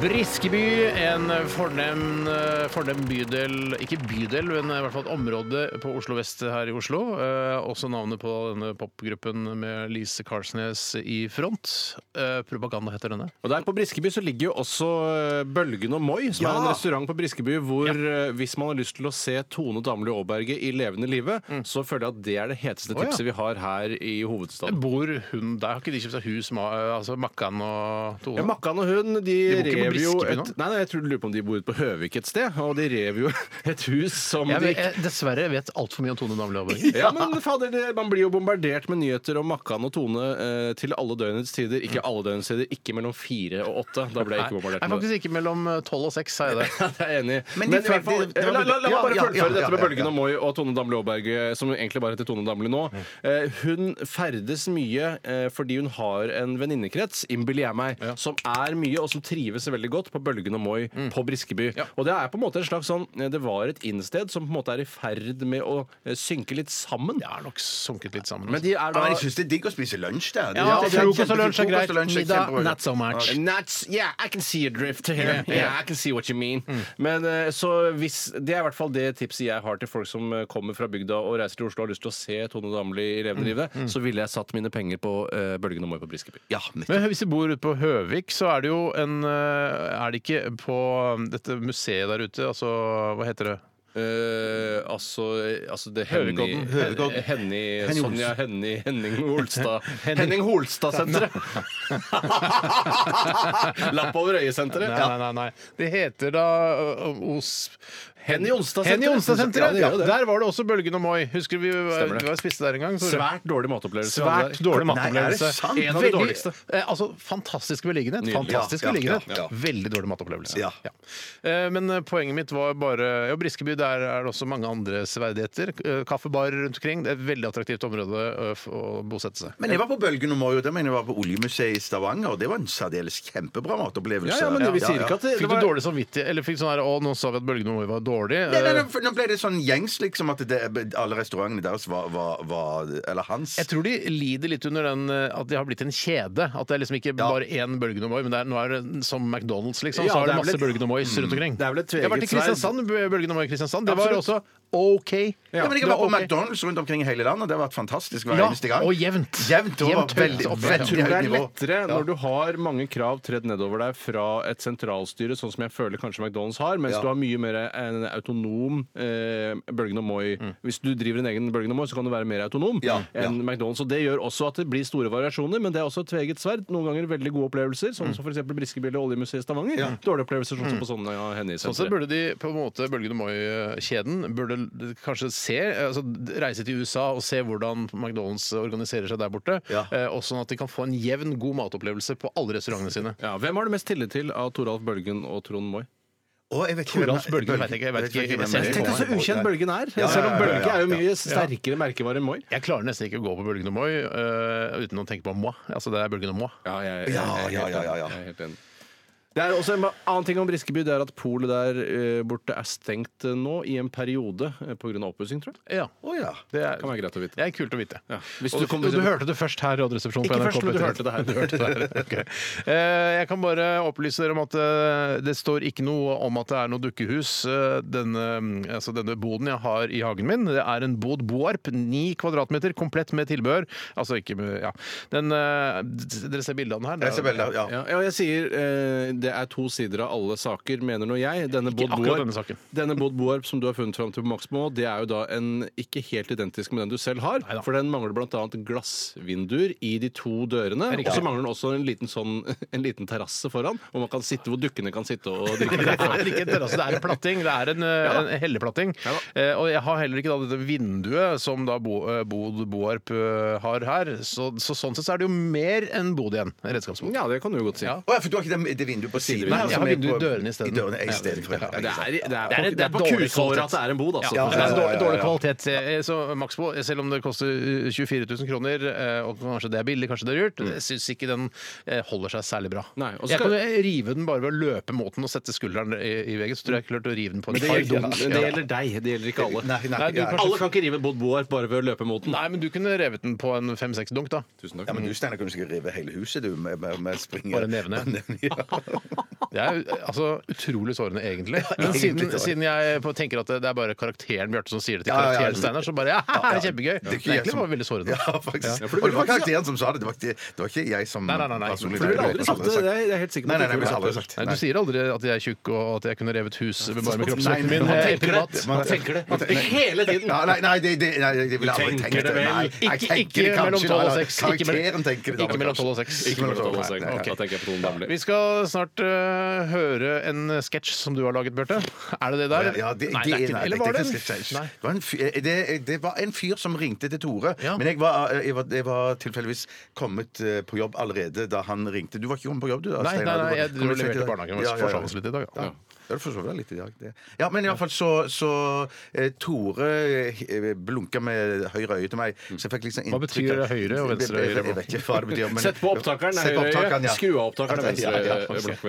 Briskeby, en fornem, eh, fornem bydel Ikke bydel, men i hvert fall et område på Oslo vest her i Oslo. Eh, også navnet på denne popgruppen med Lise Karsnes i front. Eh, propaganda heter denne. Og der på Briskeby så ligger jo også eh, Bølgen og Moi, som er en restaurant på Briskeby hvor eh, hvis man har lyst til å se Tone Damli Aaberge i levende live, så føler jeg at det er det heteste ja. tipset vi har her i hovedstaden. Bor hun der? Har ikke de kjøpt seg hus, ma altså Makkan og Tone? Ja, Makkan og hun de, bor ikke på rev jo Briskeby et, nå? nei, nei, Jeg tror lurer på om de bor ute på Høvik et sted, og de rev jo et hus som jeg, de vet- ikke jeg, dessverre jeg vet altfor mye om Tone Damli Aaberge. Ja, men fader, det, Man blir jo bombardert med nyheter om Makkan og Tone eh, til alle døgnets tider. Ikke alle døgnets tider, ikke mellom fire og åtte. Da ble jeg ikke Nei, bombardert med det. faktisk ikke mellom eh, tolv og seks, sa jeg det. Jeg er enig. Men, Men de i hvert fall, følte- det var- la, la, la meg bare ja, ja, fullføre ja, ja, dette med ja, Bølgen ja. og Moi og Tone Damli Aaberg, eh, som egentlig bare heter Tone Damli nå. Mm. Eh, hun ferdes mye eh, fordi hun har en venninnekrets, innbiller jeg meg, som er mye, og som trives veldig godt på Bølgen og Moi Mm. på Briskeby. Og det er på en måte en slags sånn eh, Det var et innsted som på en måte er i ferd med å eh, synke litt sammen. Jeg har nok sunket litt sammen. altså. Men de er da Men jeg syns det er digg å spise lunsj der. Det- Ja, det er frokost og kjempe- lunsj er greit. frokost og lunsj er Middag, kjempebra. not so much. Nuts, yeah, I can see a drift here. Yeah, Yeah, yeah. I can see what you mean. Mm. Men eh, så hvis, Det er i hvert fall det tipset jeg har til folk som eh, kommer fra bygda og reiser til Oslo og har lyst til å se Tone Damli i levende livet. Mm, Så ville jeg satt mine penger på eh, Bølgen og Moi på Briskeby. Ja, nettopp. Men hvis vi bor ute på Høvik, så er det jo en eh, Er det ikke på um, dette museet der ute? Altså, hva heter det? Eh, altså, altså det Høvikodden. Henny Hen- Henny Sonja Henny Henning Holstad Henning Holstad-senteret! Lapp over øyet-senteret. Nei, nei, nei. nei. Det heter da ø, ø, Os... Henny Onstad-senteret. Henny Onstad-senteret! Ja, det gjør det. Der var det også Bølgen og Moi. Husker du vi, var- Stemmer det. vi var spiste der en gang? Tore? Svært dårlig matopplevelse. Svært dårlig Nei, er det matopplevelse. sant? En av de dårligste. eh, altså, fantastisk beliggenhet. Nydelig. Fantastisk Ja, ja, beliggenhet. ja, ja. Veldig dårlig matopplevelse. Ja. Eh, Men eh, poenget mitt var bare ja, Briskeby, der er det også mange andre severdigheter. Eh, Kaffebarer rundt omkring. Det er et veldig attraktivt område ø, f- å bosette seg. Men jeg var på Bølgen og Moi, og det mener jeg var på Oljemuseet i Stavanger, og det var en særdeles kjempebra matopplevelse. Ja, ja, men det- vi sier ikke at det, det Fikk du dårlig samvittighet? Eller fikk sånn her Å, nå sa vi at bølgen om Moi var dårlig. Nei, nei, nei, for nå ble det sånn gjengs, liksom, at det, alle restaurantene deres var, var, var Eller hans. Jeg tror de lider litt under den eh, at de har blitt en kjede. At det er liksom ikke bare én Bølgen og Moi, men det er, nå er det som McDonald's, liksom. Ja, så har det det er masse vel et- Mm, Bølgen og Mois rundt omkring. Det er vel et jeg har vært i tveegget sverd. Kristiansand, B- Bølgen og Moi i Kristiansand. Det var også sånn Absolutt. OK. Ja, men jeg har Det vært på var ok. McDonald's rundt omkring i hele landet. og Det har vært fantastisk hver Ja, eneste gang. og jevnt. Jevnt over. Jevnt høyt veldig, opp, ja. Jeg veldig tror det høyt er nivå. lettere når du har mange krav tredd nedover deg fra et sentralstyre, sånn som jeg føler kanskje McDonald's har, mens Ja. du har mye mer en autonom eh, Bølgen og Moi. Hvis du driver en egen Bølgen og Moi, så kan du være mer autonom Mm. Ja, enn McDonald's. Og det gjør også at det blir store variasjoner, men det er også et tveget sverd. Noen ganger veldig gode opplevelser, Mm. sånn som f.eks. Briskeby eller Oljemuseet i Stavanger. Dårlige opplevelser, sånn som på sånne ja, Sånn sett Henny-senteret. burde de på en måte Bølgen og Moi-kjeden burde l- kanskje se altså reise til USA og se hvordan McDonald's organiserer seg der borte. Ja. eh, Og sånn at de kan få en jevn, god matopplevelse på alle restaurantene sine. Ja, hvem har du mest tillit til av Toralf Bølgen og Trond Moi? Å, jeg vet ikke hvem- Toralf Bølgen, jeg vet ikke, jeg vet ikke, jeg ser hvem ikke for det er. Tenk deg så ukjent Bølgen er. Selv om Bølge er jo mye sterkere merkevare enn Moi. Jeg klarer nesten ikke å gå på Bølgen og Moi eh, uten å tenke på moi. Altså det er Bølgen og moi. Ja, jeg, Ja, ja, ja, ja, ja. jeg er helt enig. Det er også en annen ting om Briskeby, det er at polet der eh, borte er stengt eh, nå i en periode eh, på grunn av oppussing, tror jeg. Ja. Å ja. Det er, Kan være greit å vite. det er kult å vite. Ja. Hvis og du du, kom- og du hørte det først her i Radioresepsjonen på Ikke NRK først, men du P13. hørte det her. Du hørte det her. ok. Eh, Jeg kan bare opplyse dere om at eh, det står ikke noe om at det er noe dukkehus. eh, Denne, mm, altså denne boden jeg har i hagen min, det er en bod Boarp, ni kvadratmeter, komplett med tilbehør. Altså ikke med Ja. Den, eh, d- dere ser bildene her? Det er- Jeg ser veldig, ja. Ja, ja, jeg sier eh, det er to sider av alle saker, mener nå jeg. Denne Bård akkurat Boarp- denne saken. denne Bård Boarp som du har funnet fram til på Maxmo, det er jo da en ikke helt identisk med den du selv har. For den mangler bl.a. glassvinduer i de to dørene. Og så mangler den også en liten, sånn, en liten terrasse foran, hvor man kan sitte hvor dukkene kan sitte og drikke Det kaffe. er ikke en terrasse, det er en platting. Det er en, eh, en helleplatting. Eh, og jeg har heller ikke da dette vinduet som da Bo, eh, Bod Boarp eh, har her. Så, så sånn sett så er det jo mer enn bod igjen. en Redskapsbod. Ja, det kan du jo godt si. Ja. Å, ja, for du har ikke det, det vinduet på siden? Nei, her, jeg som har er vinduet i på- dørene isteden. I dørene i stedet. for, ja. Det er, det er, Det på, er- det er på det er dårlig kusåret kvalitet. at det er en bod, altså. Ja, Ja, det er ja, ja, dårlig, ja. dårlig kvalitet. Eh, Så Maxbo, selv om det koster eh, 24 000 kroner, eh, og kanskje det er billig, kanskje det er dyrt, jeg syns ikke den eh, holder seg særlig bra. Mm. Nei, og så jeg skal- kan jo eh, rive den bare ved å løpe mot den og sette skulderen i, i veggen, så tror jeg jeg klarte å rive den på Men en det par gjelder, dunk. men det Ja. gjelder deg, det gjelder ikke alle. Nei, nei, Nei, du ja. kanskje- Alle kan ikke rive Bård Boarp bare ved å løpe mot den. Nei, men du kunne revet den på en fem-seks dunk, da. Tusen Ja, takk. men du Steiner, kunne sikkert rive hele huset du med, med, med springer. Bare nevene. Ja. Det er jo, altså, utrolig sårende, egentlig. Men egentlig siden, sårende. siden jeg på- tenker at det det er bare karakteren Bjarte som sier det til Ja, ja, ja. karakteren Steinar, så bare ja, det er kjempegøy. Det er er ikke jeg egentlig som- bare veldig sårende. Ja, faktisk. Ja, for Og du- det var karakteren som sa det, det var ikke, det var ikke jeg som Nei, nei, nei, nei. personlig- For du ville aldri sagt det, det er jeg helt sikker på Nei, nei, at nei, du jeg ville ville aldri sagt. sagt Nei, Du Nei. sier aldri at jeg er tjukk og at jeg kunne revet hus med bare med Nei, kroppsvekten nei, min. man eh, tenker privat. det, man tenker det. Man tenker- Hele tiden! Ja, nei, nei, det, det, nei, det ville jeg tenker aldri tenkt. det vel. Nei, jeg Ikke- tenker ikke det kanskje, mellom tolv og nei, nei. seks. Ikke mellom- Karakteren tenker det. da, ikke mellom kanskje. tolv og seks. Ikke sånn. mellom tolv og seks. Nei, nei, Da nei. tenker jeg på noen damler. Vi skal snart eh, høre en sketsj som du har laget, Bjarte. Er det det der? Ja, det, nei, det, er ikke- nei, Eller var det? det- det- det- Nei. det var en fyr, det, det var en fyr som ringte til Tore. Ja. Men jeg var, eh, jeg, var, jeg var tilfeldigvis kommet eh, på jobb allerede da han ringte. Du var ikke kommet på jobb, du? Nei, da, nei, Steinar? Du nei, var- jeg kom litt sent leverte i dag. barnehagen. Jeg forsov oss litt i dag, ja. Ja. Ja, du forsov deg litt i dag. Det. Ja, men iallfall så, så eh, Tore eh, blunka med høyre øye til meg. Så jeg fikk liksom Hva betyr inntrykk av- høyre og venstre Jeg- jeg- øyre? Jeg vet ikke hva det betyr. men- Sett på opptakeren, Sett høyre på øye. opptakeren, ja. Skru av opptakeren, Ja, venstre ja, ja. øye. Blunk på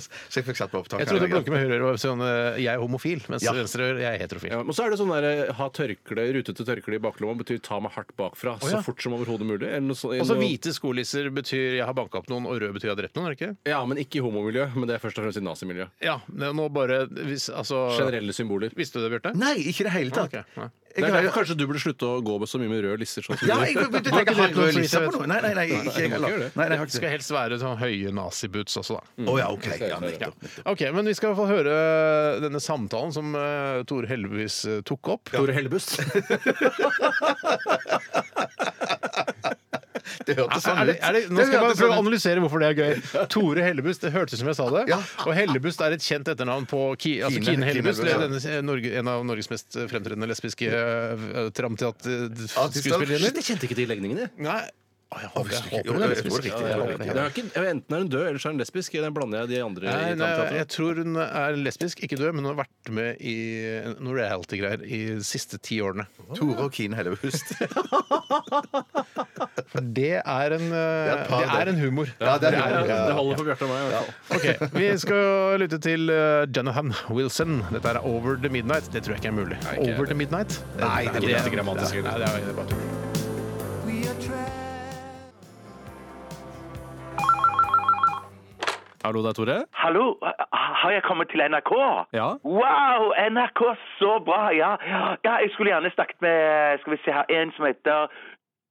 Så jeg fikk satt på opptakeren. Jeg trodde ja. blunke med høyre øre var sånn eh, jeg er homofil, mens Ja. venstre øre jeg er heterofil. Ja, og så er det sånn der, eh, ha tørkle, rutete tørkle i baklomma betyr ta meg hardt bakfra ja. så fort som overhodet mulig. eller noe sånt- Og så noe- hvite skolisser betyr 'jeg har banka opp noen', og rød betyr 'jeg har drept noen'? er det ikke? Ja, men ikke i homomiljø, men det er først og fremst i nazimiljø. Ja, men nå bare hvis, altså, Generelle symboler. Visste du det, Bjarte? Nei, ikke i det hele tatt. Ok, nei. Det Jeg er har- derfor kanskje du burde slutte å gå med så mye med røde lister. Sånn som Ja, du jeg gjør. begynte å Har ikke tenke du har jeg hørt rød noe liste som på heter- noe. Nei, nei, nei, ikke jeg Nei, heller. det Nei, nei, jeg har ikke Skal det. helst være sånn høye naziboots også, da. Å ja, OK. Ja, nettopp. Ok, men Vi skal få høre denne samtalen som eh, Tore heldigvis eh, tok opp. Tore Hellebust. Det hørtes sånn Er det, ut. er det, nå skal jeg bare hørtes prøve å sånn ut. analysere hvorfor det er gøy. Tore Hellebust, det hørtes ut som jeg sa det. Ja. Og Hellebust er et kjent etternavn på Ki, altså Kine. Kine Hellebust. Kine Hellebust, denne- Norge, en av Norges mest fremtredende lesbiske eh, Artister. tramteaterskuespillerinner. Jeg kjente ikke de legningene. Nei, Å, jeg håper, jeg håper hun Jo, er jeg tror det er lesbisk. riktig. Ja, jeg håper det. Det er ikke, enten er hun død, eller så er hun lesbisk. Den blander jeg de andre Nei, nei, i tannteatret. jeg tror hun er lesbisk, ikke død, men hun har vært med i noen reality-greier i de siste ti årene. Tore og Kine Hellebust. For det er en, eh, er et par, det er det. en humor. Ja, det er Ja, hun. ja, Det Ja. holder for Bjarte og meg. i hvert fall. Ok, Vi skal lytte til eh, Jonathan Wilson. Dette er Over the Midnight. Det tror jeg ikke er mulig. ikke Over the Midnight? Nei, det er ikke er grammatisk. Nei, det er, det er bare tull. Hallo, det er Tore. Hallo, har jeg kommet til NRK? Ja. Wow, NRK, så bra! Ja, ja jeg skulle gjerne snakket med skal vi se her, en som heter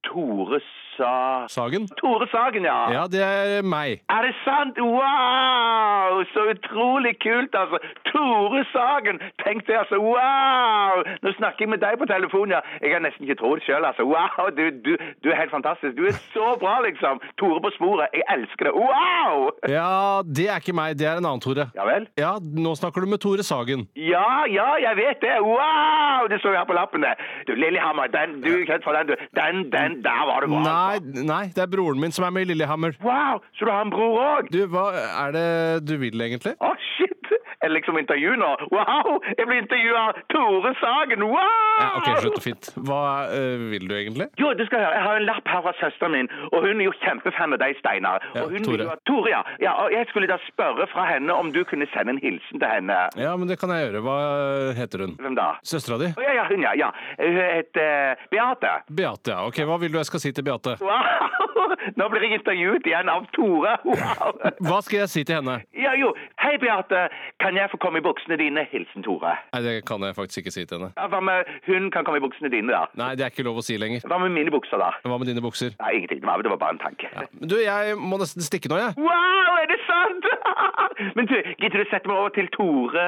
Tore Sa... Sagen. Tore Sagen, ja. Ja, det er meg. Er det sant? Wow! Så utrolig kult, altså. Tore Sagen! Tenk det, altså. Wow! Nå snakker jeg med deg på telefonen, ja. Jeg kan nesten ikke tro det sjøl, altså. Wow! Du, du, du er helt fantastisk. Du er så bra, liksom. Tore på sporet. Jeg elsker det. Wow! Ja, det er ikke meg. Det er en annen Tore. Ja vel? Ja, nå snakker du med Tore Sagen. Ja, ja, jeg vet det. Wow! Det står jo her på lappen. det. Du, Lillehammer, den, du, kjent for den, du. Den, den, der var du bra. altså. Nei, nei, det er broren min som er med i Lillehammer. Wow, så du har en bror òg? Du, hva er det du vil egentlig? Å, shit! eh, liksom intervju nå. Wow! Jeg blir intervjua av Tore Sagen! Wow! Ja, OK, slutt. Fint. Hva eh, vil du egentlig? Jo, du skal høre, Jeg har en lapp her fra søsteren min, og hun er jo kjempefan av deg, Steinar. Ja, og hun Tore. vil jo ha- Tore, ja. ja. Og jeg skulle da spørre fra henne om du kunne sende en hilsen til henne. Ja, men det kan jeg gjøre. Hva eh, heter hun? Hvem da? Søstera di? Å, ja, ja, hun, ja. ja. Hun heter eh, Beate. Beate, ja. OK, hva vil du jeg skal si til Beate? Wow! Nå blir jeg intervjuet igjen av Tore. Wow! Hva skal jeg si til henne? Ja, jo. Hei, Beate. Kan jeg få komme i buksene dine? Hilsen Tore. Nei, det kan jeg faktisk ikke si til henne. Ja, hva med hun kan komme i buksene dine, da? Nei, det er ikke lov å si lenger. Hva med mine bukser, da? Hva med dine bukser? Nei, ingenting. Det var, det var bare en tanke. Du, jeg må nesten stikke nå, jeg. Wow, er det sant? Men du, gidder du sette meg over til Tore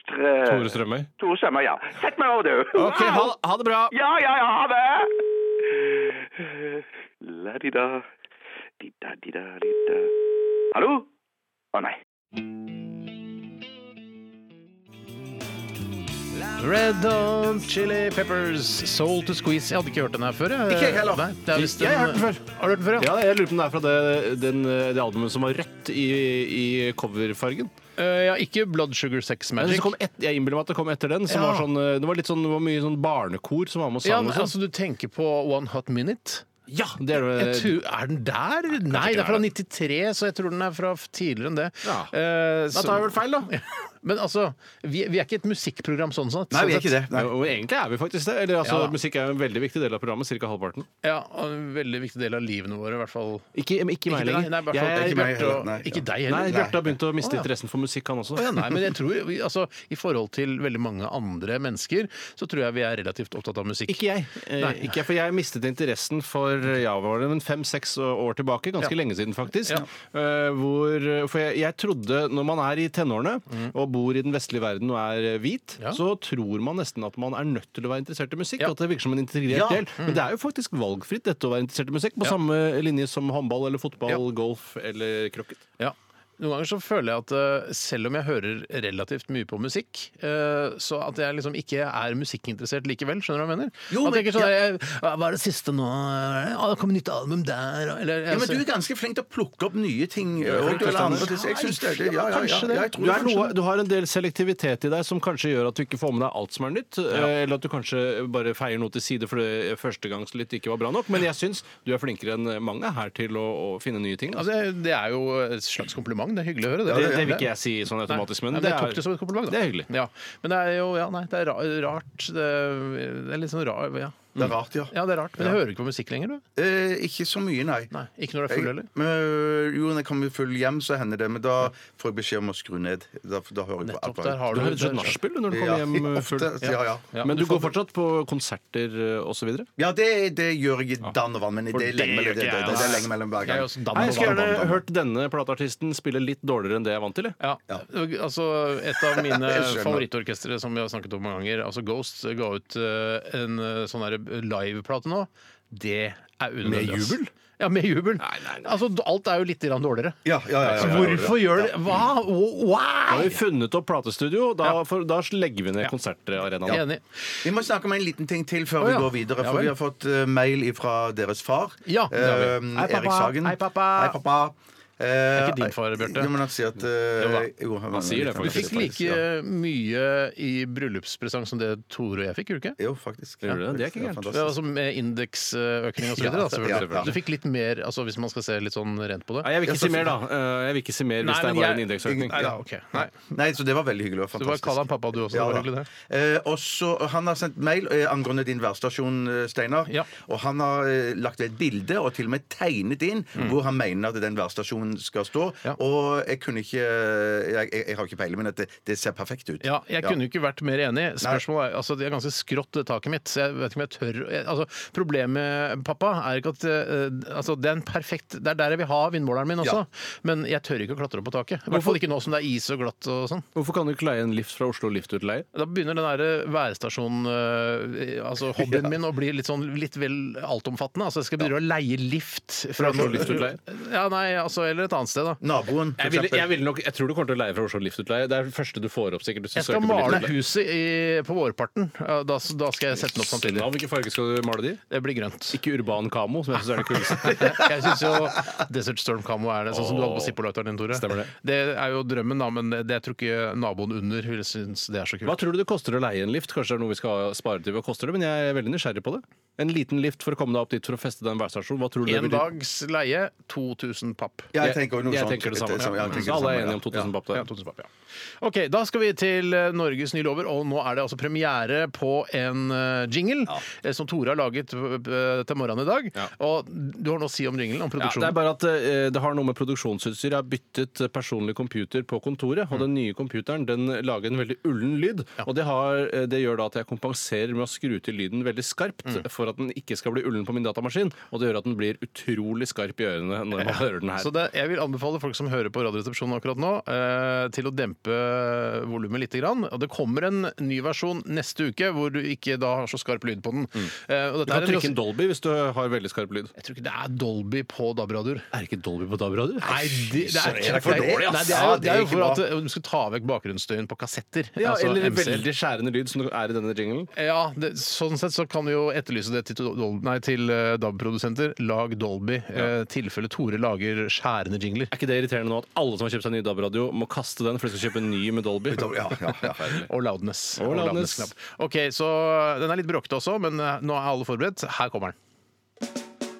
Strø... Tore Strømøy. Tore Strømmer, ja. Sett meg over, du. OK, ha, Wow! ha det bra. Ja, ja, ja, ha det. La-di-da. Di-da-di-da-di-da. Hallo? Å, nei. Red Hot Chili Peppers, Soul to Squeeze. Jeg hadde ikke hørt den her før. Jeg. Ikke jeg heller. Nei, det er visst Jeg har en- hørt den før. Har du hørt den før, ja? Ja, jeg lurer på om det er fra det, den, det albumet som var rødt i, i coverfargen. Eh, ja ikke Blood Sugar Sex Men Magic. så kom et, jeg innbiller meg at det kom etter den. Som Ja. var sånn, eh, det var litt sånn, det var mye sånn barnekor som var med og Ja, sang. men, og sånn. altså, du tenker på One Hot Minute? ja, det er Jeg det. tror, er den der? Nei, det er fra 93, så jeg tror den er fra f- tidligere enn det. Ja. Eh, så- Da tar jeg vel feil, da. Men altså, vi, vi er ikke et musikkprogram sånn sett. Nei, vi sånn er ikke sett. det. Nei. Jo, egentlig er vi faktisk det. Eller, altså, Ja da. Musikk er en veldig viktig del av programmet. Cirka halvparten. Ja, og en veldig viktig del av livene våre, i hvert fall. Ikke, ikke sånn, meg deg, lenger. nei, i hvert fall, Jeg- ikke, ikke meg Bjarte og- heller, nei, ja. ikke deg Nei, heller. Bjarte har begynt å miste Å, ja. interessen for musikk, han også. Å ja, nei, men jeg tror, vi- altså, I forhold til veldig mange andre mennesker, så tror jeg vi er relativt opptatt av musikk. Ikke jeg. Eh, Nei. Ikke jeg, for jeg mistet interessen for javaen fem-seks år tilbake. Ganske Ja. lenge siden, faktisk. Ja. Eh, Hvor, for jeg, jeg trodde, når man er i tenårene og bor i den vestlige verden og er eh, hvit, Mm. Ja. så tror man nesten at man er nødt til å være interessert i musikk. Ja. Mm. At det virker som en integrert Ja. del. Men det er jo faktisk valgfritt, dette å være interessert i musikk. På samme linje som håndball eller fotball, Ja. golf eller krokket. Ja. Noen ganger så føler jeg at eh, selv om jeg hører relativt mye på musikk, eh, så at jeg liksom ikke er musikkinteressert likevel. Skjønner du hva jeg mener? Jo, at jeg ikke men- sånn, jeg, Hva er det siste nå? Ah, det kommer nytt album der eller, altså, jeg, Ja, men du er ser- ganske flink til å plukke opp nye ting. eh, og du er Kristian. andre til- Jeg synes det. det- Ja, ja, ja. Kanskje det. Jeg Du, tror er kanskje noe, det. liksom- du har en del selektivitet i deg som kanskje gjør at du ikke får med deg alt som er nytt. eh, Eller at du kanskje bare feier noe til side fordi førstegangslytt ikke var bra nok. Men jeg syns du er flinkere enn mange her til å, å finne nye ting. Altså. altså, det er jo et slags kompliment. Det er hyggelig å høre. Det, det vil ikke jeg si sånn automatisk, men Nei, det jeg tok er, det som et kompliment. Da. det er hyggelig. Ja. Men det er jo ja, nei, det er ra- rart. Det er, det er litt sånn rar, ja. Det er rart, ja. ja, det er rart. Men jeg hører ikke på musikk lenger, du. Eh, ikke så mye, nei. Nei, ikke når du er full, heller. Jeg- men, eh, jo, når jeg kommer full hjem, så hender det. Men da får jeg beskjed om å skru ned. Da, da hører jeg på Nettopp alt der har Du du høres ut som et nachspiel når du kommer hjem eh, full. ofte, ja, ja. Ja, Men du du går får- fortsatt på konserter eh, osv.? ja det, det gjør jeg i dann og vann, men det er det lenge mellom, gjør det, det, ikke jeg, det, det er ass. lenge mellom hver Jeg er gang. også dam- Jeg skulle gjerne hørt denne plateartisten spille litt dårligere enn det jeg er vant til. jeg. Ja. altså Et av mine Jeg skjønner. favorittorkestre som vi har snakket om mange ganger, altså Ghost, ga ut eh, en eh, sånn her liveplate nå. Det er unødvendig. ass. jubel? Ja, med jubel. Nei, nei, nei. Altså, alt er jo litt grann dårligere. Ja, ja, ja, Så ja, ja, ja, ja. hvorfor gjør det Hva? Da har Why? vi funnet opp platestudio. Da, Ja. for, da legger vi ned Ja. konsertarenaen. Enig. Vi må snakke om en liten ting til før Å, ja. vi går videre. Ja For vel. vi har fått eh, mail fra deres far. Ja, det har vi. Eh, Hei, pappa. Erik Sagen. Hei, pappa. Hei, pappa. Eh, ikke din far, Bjarte. Jo, men han sier at Jo eh, da. jo, Han sier det, Du faktisk. fikk like mye i bryllupspresang som det Tore og jeg fikk, gjorde du ikke? Jo, faktisk. Gjør du det? Det er ikke gærent. Det var altså med indeksøkning og så videre. Ja, da, selvfølgelig. ja, ja. Du fikk litt mer, altså hvis man skal se litt sånn rent på det. Nei, jeg vil ikke si mer, da. Eh, Jeg vil ikke si mer hvis det er bare en indeksøkning. Nei, da, ok. Nei. Nei, så det var veldig hyggelig. og Du bare fantastisk. kall han pappa, du også. Ja, det var da. hyggelig, det. Eh, og så- han har sendt mail eh, angående din værstasjon, eh, Steinar. Ja. Og han har eh, lagt et bilde og til og med tegnet inn hvor han mener at den værstasjonen skal stå. Ja. Og jeg kunne ikke eh, Jeg, jeg, jeg har ikke peiling, men at det, det ser perfekt ut. Ja, jeg kunne jo ikke vært mer enig. Spørsmålet er, altså Det er ganske skrått, det taket mitt. Så jeg vet ikke om jeg tør jeg, altså, Problemet, pappa, er ikke at eh, altså, Det er en perfekt Det er der jeg vil ha vindmåleren min også. Ja. Men jeg tør ikke å klatre opp på taket. I hvert fall ikke nå som det er is og glatt og sånn. Hvorfor kan du ikke leie en lift fra Oslo Liftutleie? Da begynner den derre værstasjon... eh, altså hobbyen min å bli litt sånn litt vel altomfattende. Altså jeg skal begynne å leie lift Fra Oslo Liftutleie? Ja, nei, altså eller et annet sted, da. Naboen, for Jeg, ville, eksempel. jeg, ville nok, jeg tror du kommer til å leie fra Oslo Liftutleie. Det er det første du får opp. sikkert hvis du Jeg skal søker på male Liftutleie. huset i, på vårparten. Ja, Da, da skal jeg sette den opp samtidig. Av hvilken farge skal du male de? Det blir grønt. Ikke urban kamo, som jeg syns er det kuleste. Jeg syns jo Desert Storm Camo er det, sånn som du hadde på Zippo-lighteren din, Tore. Stemmer det. er jo drømmen, da, men det, jeg tror ikke naboen under vil synes det er så Hva kult. tror du det koster å leie en lift? Kanskje det er noe vi skal spare til? Hva koster det? Men jeg er veldig nysgjerrig på det. En liten lift for å komme deg opp dit for å feste deg en værstasjon. Hva tror du det En betyr? dags leie 2000 papp. Ja, jeg tenker jo noe jeg sånt. tenker det samme. Et- et- Ja. jeg tenker Så alle er det samme, enige om 2000 papp der. Ja, 2000 papp, ja. OK, da skal vi til eh, Norges nye lover, og nå er det altså premiere på en eh, jingle eh, som Tore har laget eh, til morgenen i dag. Og du har noe å si om jinglen, om Ja, det er produksjonen. bare at eh, det har noe med produksjonsutstyr. Jeg har byttet eh, personlig computer på kontoret, og den nye computeren den lager en veldig ullen lyd. Og det, har, eh, det gjør da at jeg kompenserer med å skru til lyden veldig skarpt for at den ikke skal bli ullen på min datamaskin, og det gjør at den blir utrolig skarp i ørene når man hører den her. Så det, jeg vil anbefale folk som hører på Radioresepsjonen akkurat nå, eh, til å dempe eh, volumet litt. Grann. Og det kommer en ny versjon neste uke hvor du ikke da har så skarp lyd på den. Eh, og dette Mm. Du er kan en trykke inn løs- Dolby hvis du har veldig skarp lyd. Jeg tror ikke det er Dolby på DAB-radioer. Er det ikke Dolby på DAB-radio? Nei, det, det, er, det er for dårlig, ass. Nei, det er, jo- Ja, det det er er jo ikke for bra. at eh, du skal ta vekk bakgrunnsstøyen på kassetter. Ja, altså eller MC-er. veldig skjærende lyd som det er i denne jinglen. Ja, det, sånn sett så kan vi jo etterlyse det til, Dol- nei, til eh, DAB-produsenter. Lag Dolby. Eh, tilfelle Tore lager skjærende jingler. Er ikke det irriterende nå at alle som har kjøpt seg en ny DAB-radio, må kaste den for de skal kjøpe en ny med Dolby? Ja, ja, ja. Og loudness. Og loudness. knapp. Ok, så eh, Den er litt bråkete også, men eh, nå er alle forberedt. Her kommer den.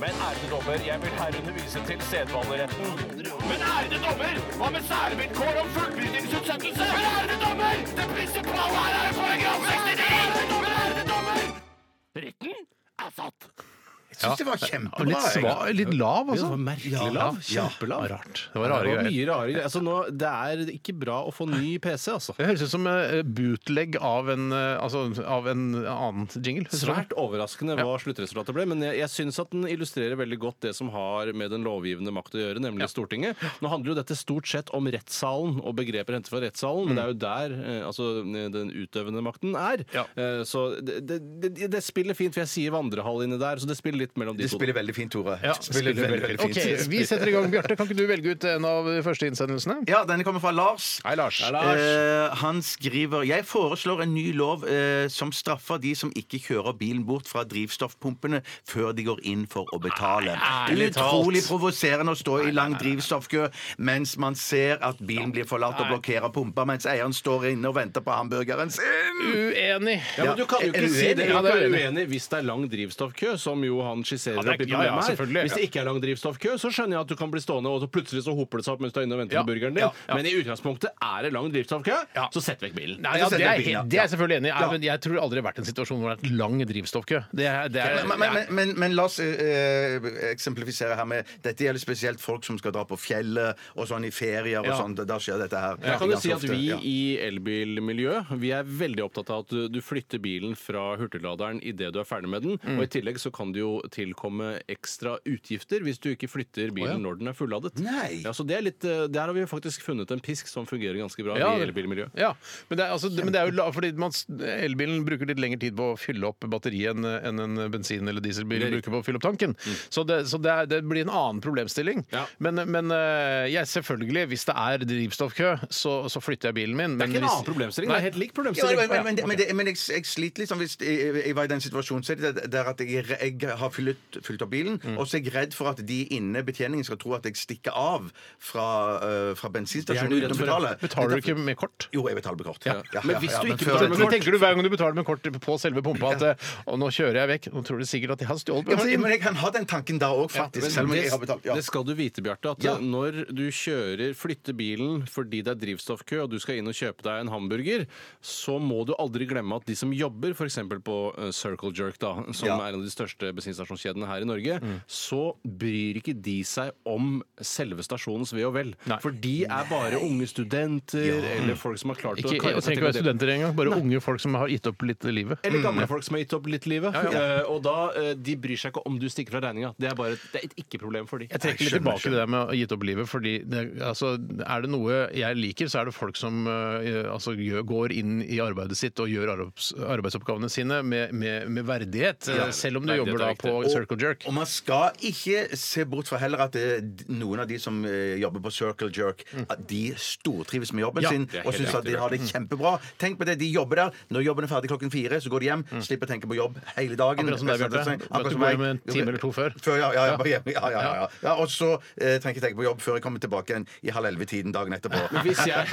Men ærede dommer, jeg vil herunder vise til sedvaneretten. Men ærede dommer, hva med særvilkår om fullbyrdingsutsettelse? Men ærede dommer, det prinsipale her er paragraf 69! Men ærede dommer, retten er satt. Jeg syns det var Og kjempebra. Litt, sva, jeg. litt lav, Ja, altså. det var merkelig lav. Kjempelav. Rart. Det var rare det var greier. mye rare greier. Altså, nå, det er ikke bra å få ny PC, altså. Det høres ut som eh, bootleg av en, eh, altså, av en annen jingle. Høres det ut som? Svært overraskende hva sluttresultatet ble, men jeg, jeg syns at den illustrerer veldig godt det som har med den lovgivende makt å gjøre, nemlig Stortinget. Nå handler jo dette stort sett om rettssalen og begreper hentet fra rettssalen, men det er jo der eh, altså, den utøvende makten er. Mm. Ja. Eh, Så det, det, det, det spiller fint, for jeg sier vandrehall inni der, så det spiller litt mellom de Det to. spiller veldig fint, Tore. Ja, Det spiller veldig, veldig Ok, fint. Vi setter i gang. Bjarte, kan ikke du velge ut en av de første innsendelsene? Ja, denne kommer fra Lars. Hei, Lars. Eh, han skriver Jeg foreslår en ny lov eh, som straffer de som ikke kjører bilen bort fra drivstoffpumpene før de går inn for å betale. ærlig talt. Utrolig provoserende å stå i lang drivstoffkø mens man ser at bilen blir forlatt og blokkerer pumpa mens eieren står inne og venter på hamburgeren sin. Uenig. Ja, men du kan jo Er- er ikke du si uenig? Ja, det er det. Du kan være uenig. uenig hvis det er lang drivstoffkø, som jo han skisserer Ja, det er- opp ja, i ja, problemet her. selvfølgelig, Hvis det ikke er lang drivstoffkø, så skjønner jeg at du kan bli stående, og så plutselig så hoper det seg opp mens du er inne og venter Ja, på burgeren din. ja, ja. Men i utgangspunktet er det lang drivstoffkø, Ja. så sett vekk bilen. Nei, ja, det, er, helt- det er jeg selvfølgelig enig i. Ja, men Jeg tror aldri det har vært en situasjon hvor det har vært lang drivstoffkø. Det er, det er, Men, men, men, men, men la oss eh, eh, eksemplifisere her med Dette gjelder spesielt folk som skal dra på fjellet og sånn i ferier og Ja. sånn. Da- Da skjer dette her. Da kan du ganske si at ofte, vi ja. i elbilmiljøet vi er veldig opptatt av at du, du flytter bilen fra hurtigladeren idet du er ferdig med den. Mm. Og i tillegg så kan det jo tilkomme ekstra utgifter hvis du ikke flytter bilen når den er fulladet. Nei. Ja, så det er litt, eh, Der har vi faktisk funnet en pisk som fungerer ganske bra Ja, i det- elbilmiljøet. Ja, men det er, altså, men det er jo la- fordi man, s- elbilen bruker litt lengre tid på å fylle opp batteriet enn enn en bensin- eller dieselbil Det er Mm. bruker på å fylle opp tanken. Så, det, så det, er, det blir en annen problemstilling. Ja. Men, men eh, jeg selvfølgelig, hvis det er drivstoffkø, så, så flytter jeg bilen min. Det er ikke en hvis, annen problemstilling. Det er helt lik Ja, men, problemstilling. men, men, men, det- men jeg, jeg sliter litt sånn hvis jeg, jeg var i den situasjonen så er det der at jeg, jeg har fylt, fylt opp bilen, Mm. og så er jeg redd for at de inne betjeningen skal tro at jeg stikker av fra, øh, fra bensinstasjonen Det er du uten redd å for, ja. betale. Betaler du ikke med kort? Jo, jeg betaler med kort. Ja. Men hvis du ikke før- betaler med Så tenker du hver gang du betaler med kort på selve pumpa at eh, «Å, nå kjører jeg vekk. Nå tror du sikkert at jeg har stjålet ja, men, bensin. men jeg kan ha den tanken da òg, faktisk. Men selv om det, jeg har betalt. Ja. det skal du vite, Bjarte. At Ja. når du kjører, flytter bilen fordi det er drivstoffkø, og du skal inn og kjøpe deg en hamburger, så må du aldri glemme at de som jobber f.eks. på eh, Circle Jerk, da, som Ja. er en av de største bensinstasjonskjedene her i Norge, så bryr ikke de seg om selve stasjonens ve og vel. Nei. For de er bare unge studenter eller folk som har klart Ikke, å kare jeg trenger seg til ikke en være del- studenter engang. Bare unge folk som har gitt opp litt livet. Eller gamle folk som har gitt opp litt livet. Mm. Ja, ja. Eh, og da, eh, De bryr seg ikke om du stikker fra regninga. Det er bare et, det er et ikke-problem for de. Jeg trekker litt tilbake det der med å ha gitt opp livet, fordi det, altså, er det noe jeg liker, så er det folk som eh, altså, gjør, går inn i arbeidet sitt og gjør arbeids, arbeidsoppgavene sine med, med, med verdighet. Eh, Selv om du verdighet jobber da er på og circle jerk. Og man skal ikke se bort fra heller at det, er d- noen av de som eh, jobber på circle jerk, at de stortrives med jobben Mm. Ja, sin det Mm. er og helt syns at de riktig, har det kjempebra. Tenk på det, de jobber der. Når jobben er ferdig klokken fire, så går de hjem, slipper å tenke på jobb hele dagen. Mm. Akkurat som deg, Bjarte. Akkurat At du som går meg. hjem en time eller to før. Før, ja, ja, ja, bare hjem. ja, ja, ja, ja. ja. Og så eh, trenger jeg ikke tenke på jobb før jeg kommer tilbake igjen i halv elleve-tiden dagen etterpå. Hvis jeg,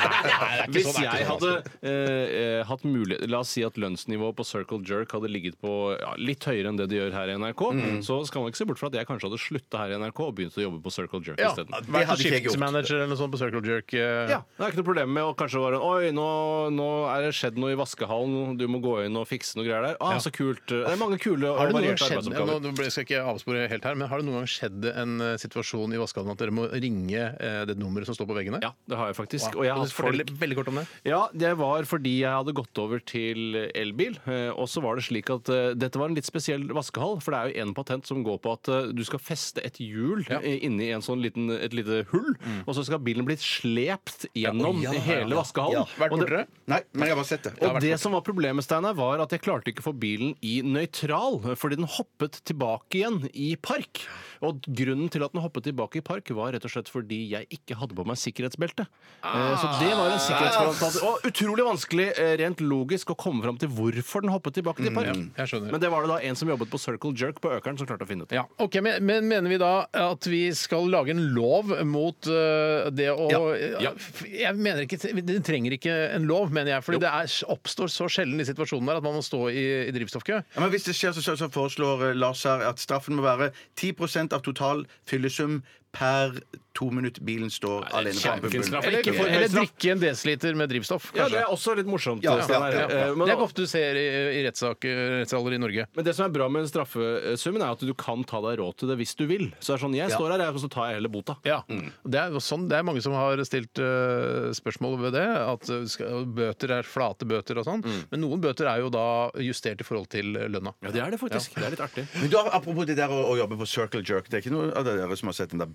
ikke hvis sånn, det er ikke jeg sånn, hadde altså. eh, eh, hatt mulighet La oss si at lønnsnivået på Circle Jerk hadde ligget på ja, litt høyere enn det de gjør her i NRK, Mm. så skal man ikke se bort fra at jeg kanskje hadde slutta her i NRK og begynt å jobbe på Circle Jerk Ja, isteden. det hadde ikke jeg gjort. Shiftmanager eller noe sånt på circle jerk. eh, Ja, Det er ikke noe problem med å kanskje være Oi, nå, nå er det skjedd noe i vaskehallen, du må gå inn og fikse noe greier der. Ah, så kult. Det er mange kule Har det noen gang og varierte skjedd, nå arbeidsoppgaver. nå ble- skal jeg ikke avspore helt her, men har det noen gang skjedd en eh, situasjon i vaskehallen at dere må ringe eh, det nummeret som står på veggene? Ja, det har jeg faktisk. Wow. Og jeg har Kan du hatt folk fortelle veldig kort om det. Ja, det var fordi jeg hadde gått over til elbil. eh, Og så var det slik at eh, dette var en litt spesiell vaskehall, for det er jo en patent som går på at eh, du skal feste et hjul Ja. eh, inni en sånn liten, et lite hull, og så skal bilen bli slept gjennom Mm. ja, hele ja. Ja. vaskehallen. Vært Og det- borte? Nei, men jeg har bare sett det. og det som var problemet, Steinar, var at jeg klarte ikke å få bilen i nøytral, fordi den hoppet tilbake igjen i park. Og grunnen til at den hoppet tilbake i park, var rett og slett fordi jeg ikke hadde på meg sikkerhetsbelte. Eh, Så det var en sikkerhetsbelte. Og utrolig vanskelig, eh, rent logisk, å komme fram til hvorfor den hoppet tilbake til park. jeg skjønner. Men det var det da en som jobbet på Circle Jerk på Økeren som klarte å finne ut. Ja, ok, men, men mener vi da at vi skal lage en lov mot øh, det å Ja, ja. F- Jeg mener ikke, Det trenger ikke en lov, mener jeg, fordi det er, oppstår så sjelden de situasjonene der at man må stå i, i drivstoffkø. Ja, men Hvis det skjer, så, så, så foreslår eh, Lars her at straffen må være 10 av total fyllesum per to minutt bilen det står er alene på kjempefin straff. pumpen. Eller, ikke for høy eller straff. drikke en desiliter med drivstoff, Ja, det kanskje. er også litt morsomt. Ja, ja, Steinar. ja, ja. Eh, men- det er ikke ofte du ser i, i rettssaker, rettssaler i Norge. Men det som er bra med straffesummen, er at du kan ta deg råd til det hvis du vil. Så det er sånn, jeg står her, jeg, og så tar jeg heller bota. Ja, det, er jo sånn, det er mange som har stilt øh, spørsmål ved det. At øh, skal, bøter er flate bøter og sånn. Men noen bøter er jo da justert i forhold til eh, lønna. Mm. Ja, det er det faktisk. Det er litt artig. Men du har, Apropos det der å, å jobbe på Circle Jerk. Det er ikke noen av dere som har sett den der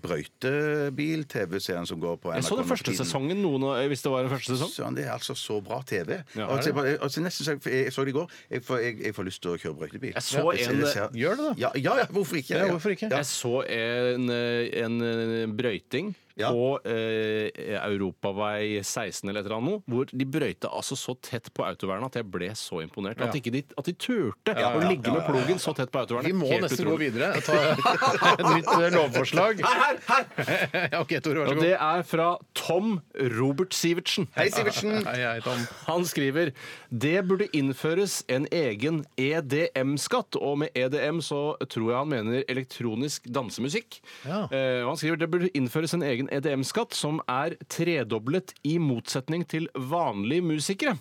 brøytebil-TV-serien som går på NRK? Jeg så den nå for første tiden? sesongen, noen, av- hvis det var den første sesong. Søren, det er altså så bra TV. Ja, og er så, det? jeg, og så nesten, så jeg, jeg så det i går. Jeg får, jeg, jeg får lyst til å kjøre brøytebil. Jeg så en- ser- Gjør det da? Ja, ja, ja, hvorfor ikke? Ja, hvorfor ikke? Jeg så en, eh, en eh, brøyting Ja. på eh, Europavei 16 eller et eller annet, noe, hvor de brøyta altså så tett på autovernet at jeg ble så imponert. At, ikke de, at de turte å ligge med plogen så tett på Vi autovernet. må Helt nesten gå utrolig. videre og ta et nytt eh, lovforslag. Her, her, her! Ja, ok, Tore, vær Og så god. det er fra Tom Robert Sivertsen. Hei, Sivertsen. Hei, hei, Tom. Han skriver det burde innføres en egen EDM-skatt. Og med EDM så tror jeg han mener elektronisk dansemusikk. Ja. Eh, og han skriver det burde innføres en egen EDM-skatt som er tredoblet i motsetning til vanlige musikere.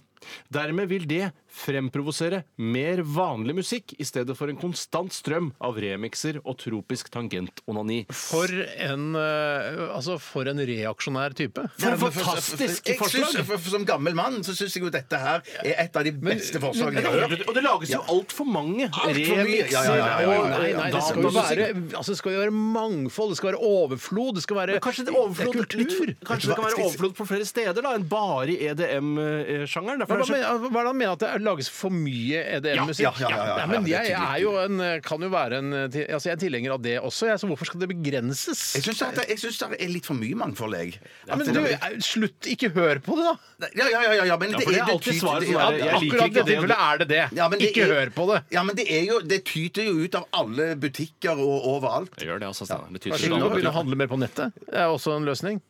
Dermed vil det fremprovosere mer vanlig musikk i stedet for en konstant strøm av remixer og tropisk tangentonani. For en, eh, altså for en reaksjonær type. For et fantastisk Jeg synes, forslag! for- for- Som gammel mann så syns jeg jo dette her er et av de beste forslagene jeg har hørt. Og det lages jo altfor mange mye. Ja, remixer. ja, ja, ja, ja. og- Nei, nei, det skal jo datamusikk. være, altså, det skal jo være mangfold, det skal være overflod, det skal være Men kanskje det er overflod Det er kultur. Kanskje det kan være overflod på flere steder da, enn bare i E EDM-sjangeren. Hva Derfor er eh, det så- mener hva er det han mener at det er- lages for mye E EDM-musikk? Ja, ja, ja, ja, ja, Nei, men ja, jeg, det er er jo en, eh, kan jo være en eh, til- altså Jeg er tilhenger av det også, jeg, så hvorfor skal det begrenses? Jeg syns det, jeg synes det er litt for mye mangfold, jeg. Ja, men At du, det- eh, slutt! Ikke hør på det, da! ja, ja, ja, ja, ja, men det, for det er alltid tyter- svaret som ja, er, jeg liker Akkurat i ikke det det. tilfellet er det det. ja, men det ikke er- hør på det. Ja, men det, er jo, det tyter jo ut av alle butikker og overalt. Jeg gjør det, altså, Steinar. Det tyder Kanskje på vi at må alle begynne å butikker- handle mer på nettet? Det er også en løsning.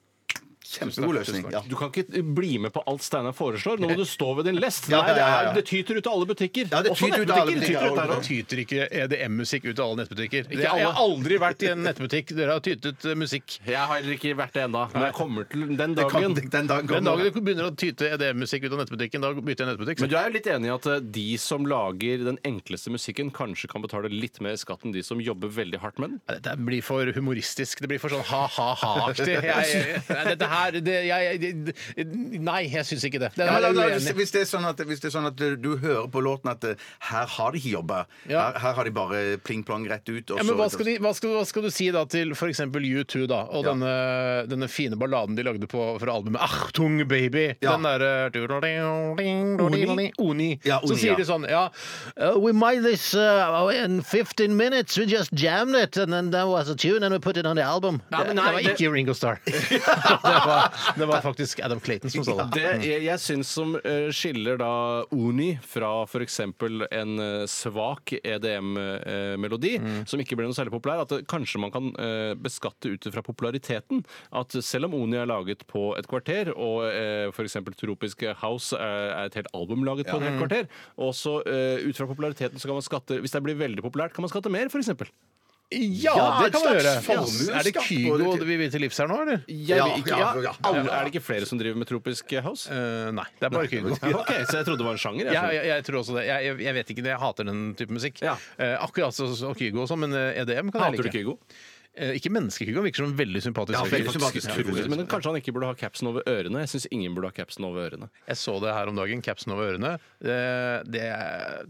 Kjempegod løsning. Ja. Du kan ikke bli med på alt Steinar foreslår. Nå må du stå ved din lest. Ja, Nei, ja, det, ja, ja. er, det tyter ut av alle butikker. Ja, det Også tyter ut av alle nettbutikker. butikker, Tyter ut ja, der Det også. tyter ikke EDM-musikk ut av alle nettbutikker. Ikke alle. Jeg har aldri vært i en nettbutikk. Dere har tytet eh, musikk. Jeg har heller ikke vært det ennå, men jeg kommer til den Kom, dagen. den dagen Den kommer. dagen du begynner å tyte EDM-musikk ut av nettbutikken, da bytter jeg nettbutikk. Men du er jo litt enig i at eh, de som lager den enkleste musikken, kanskje kan betale litt mer skatt enn de som jobber veldig hardt med den? Ja, Dette blir for humoristisk. Det blir for sånn ha-ha-ha-aktig. Jeg- jeg- Dette her er det, jeg, jeg, det- Nei, jeg syns ikke det. Det Ja, men, er da, jeg da, uenig hvis, i. hvis, det er sånn at, hvis det er sånn at du, du hører på låten at eh, her har de ikke jobba, Ja. her, her har de bare pling-plong rett ut og Ja, men så- hva skal, de, hva, skal, hva skal du si da til f.eks. U2 da, og Ja. denne, denne fine balladen de lagde på fra albumet Achtung Baby? Ja. Den derre Oni? Oni. Ja, Oni, Så sier ja. de sånn Ja, uh, we made this uh, in 15 minutes. We just jammed it, and then that was a tune, and we put it on the album. Nei, det, men nei, det var det- ikke Ringo Starr. det, var, det var faktisk Adam Clayton som sa det. Det jeg, jeg syns som eh, skiller da Uni fra f.eks. en eh, svak EDM-melodi, som ikke ble noe særlig populær, at det, kanskje man kan eh, beskatte ut fra populariteten. At selv om Uni er laget på et kvarter, og eh, for f.eks. Tropiske House er, er et helt album laget på et helt kvarter, og så eh, ut fra populariteten så kan man skatte Hvis det blir veldig populært, kan man skatte mer, f.eks. Ja, et slags formuesskatt Er det på Kygo det. vi vil til livs her nå, eller? Jeg Ja, vil ikke, ja, ja, ja, ja. alle- Er det ikke flere som driver med Tropisk House? Eh, nei, det er bare Kygo. Ok, Så jeg trodde det var en sjanger. jeg Ja, skjønner. jeg, jeg tror også det. Jeg, jeg, jeg vet ikke det. Jeg hater den type musikk. Ja. Eh, akkurat som som Kygo og sånn, men eh, EDM kan jeg Hater like. du Kygo? Eh, ikke menneskekygo. Han Virker som en veldig sympatisk. Ja, fyr. veldig sympatisk. Faktisk Utrolig, utrolig sympatisk. men kanskje han ikke burde ha capsen over ørene. Jeg syns ingen burde ha capsen over ørene. Jeg så det her om dagen. Capsen over ørene. Eh, det,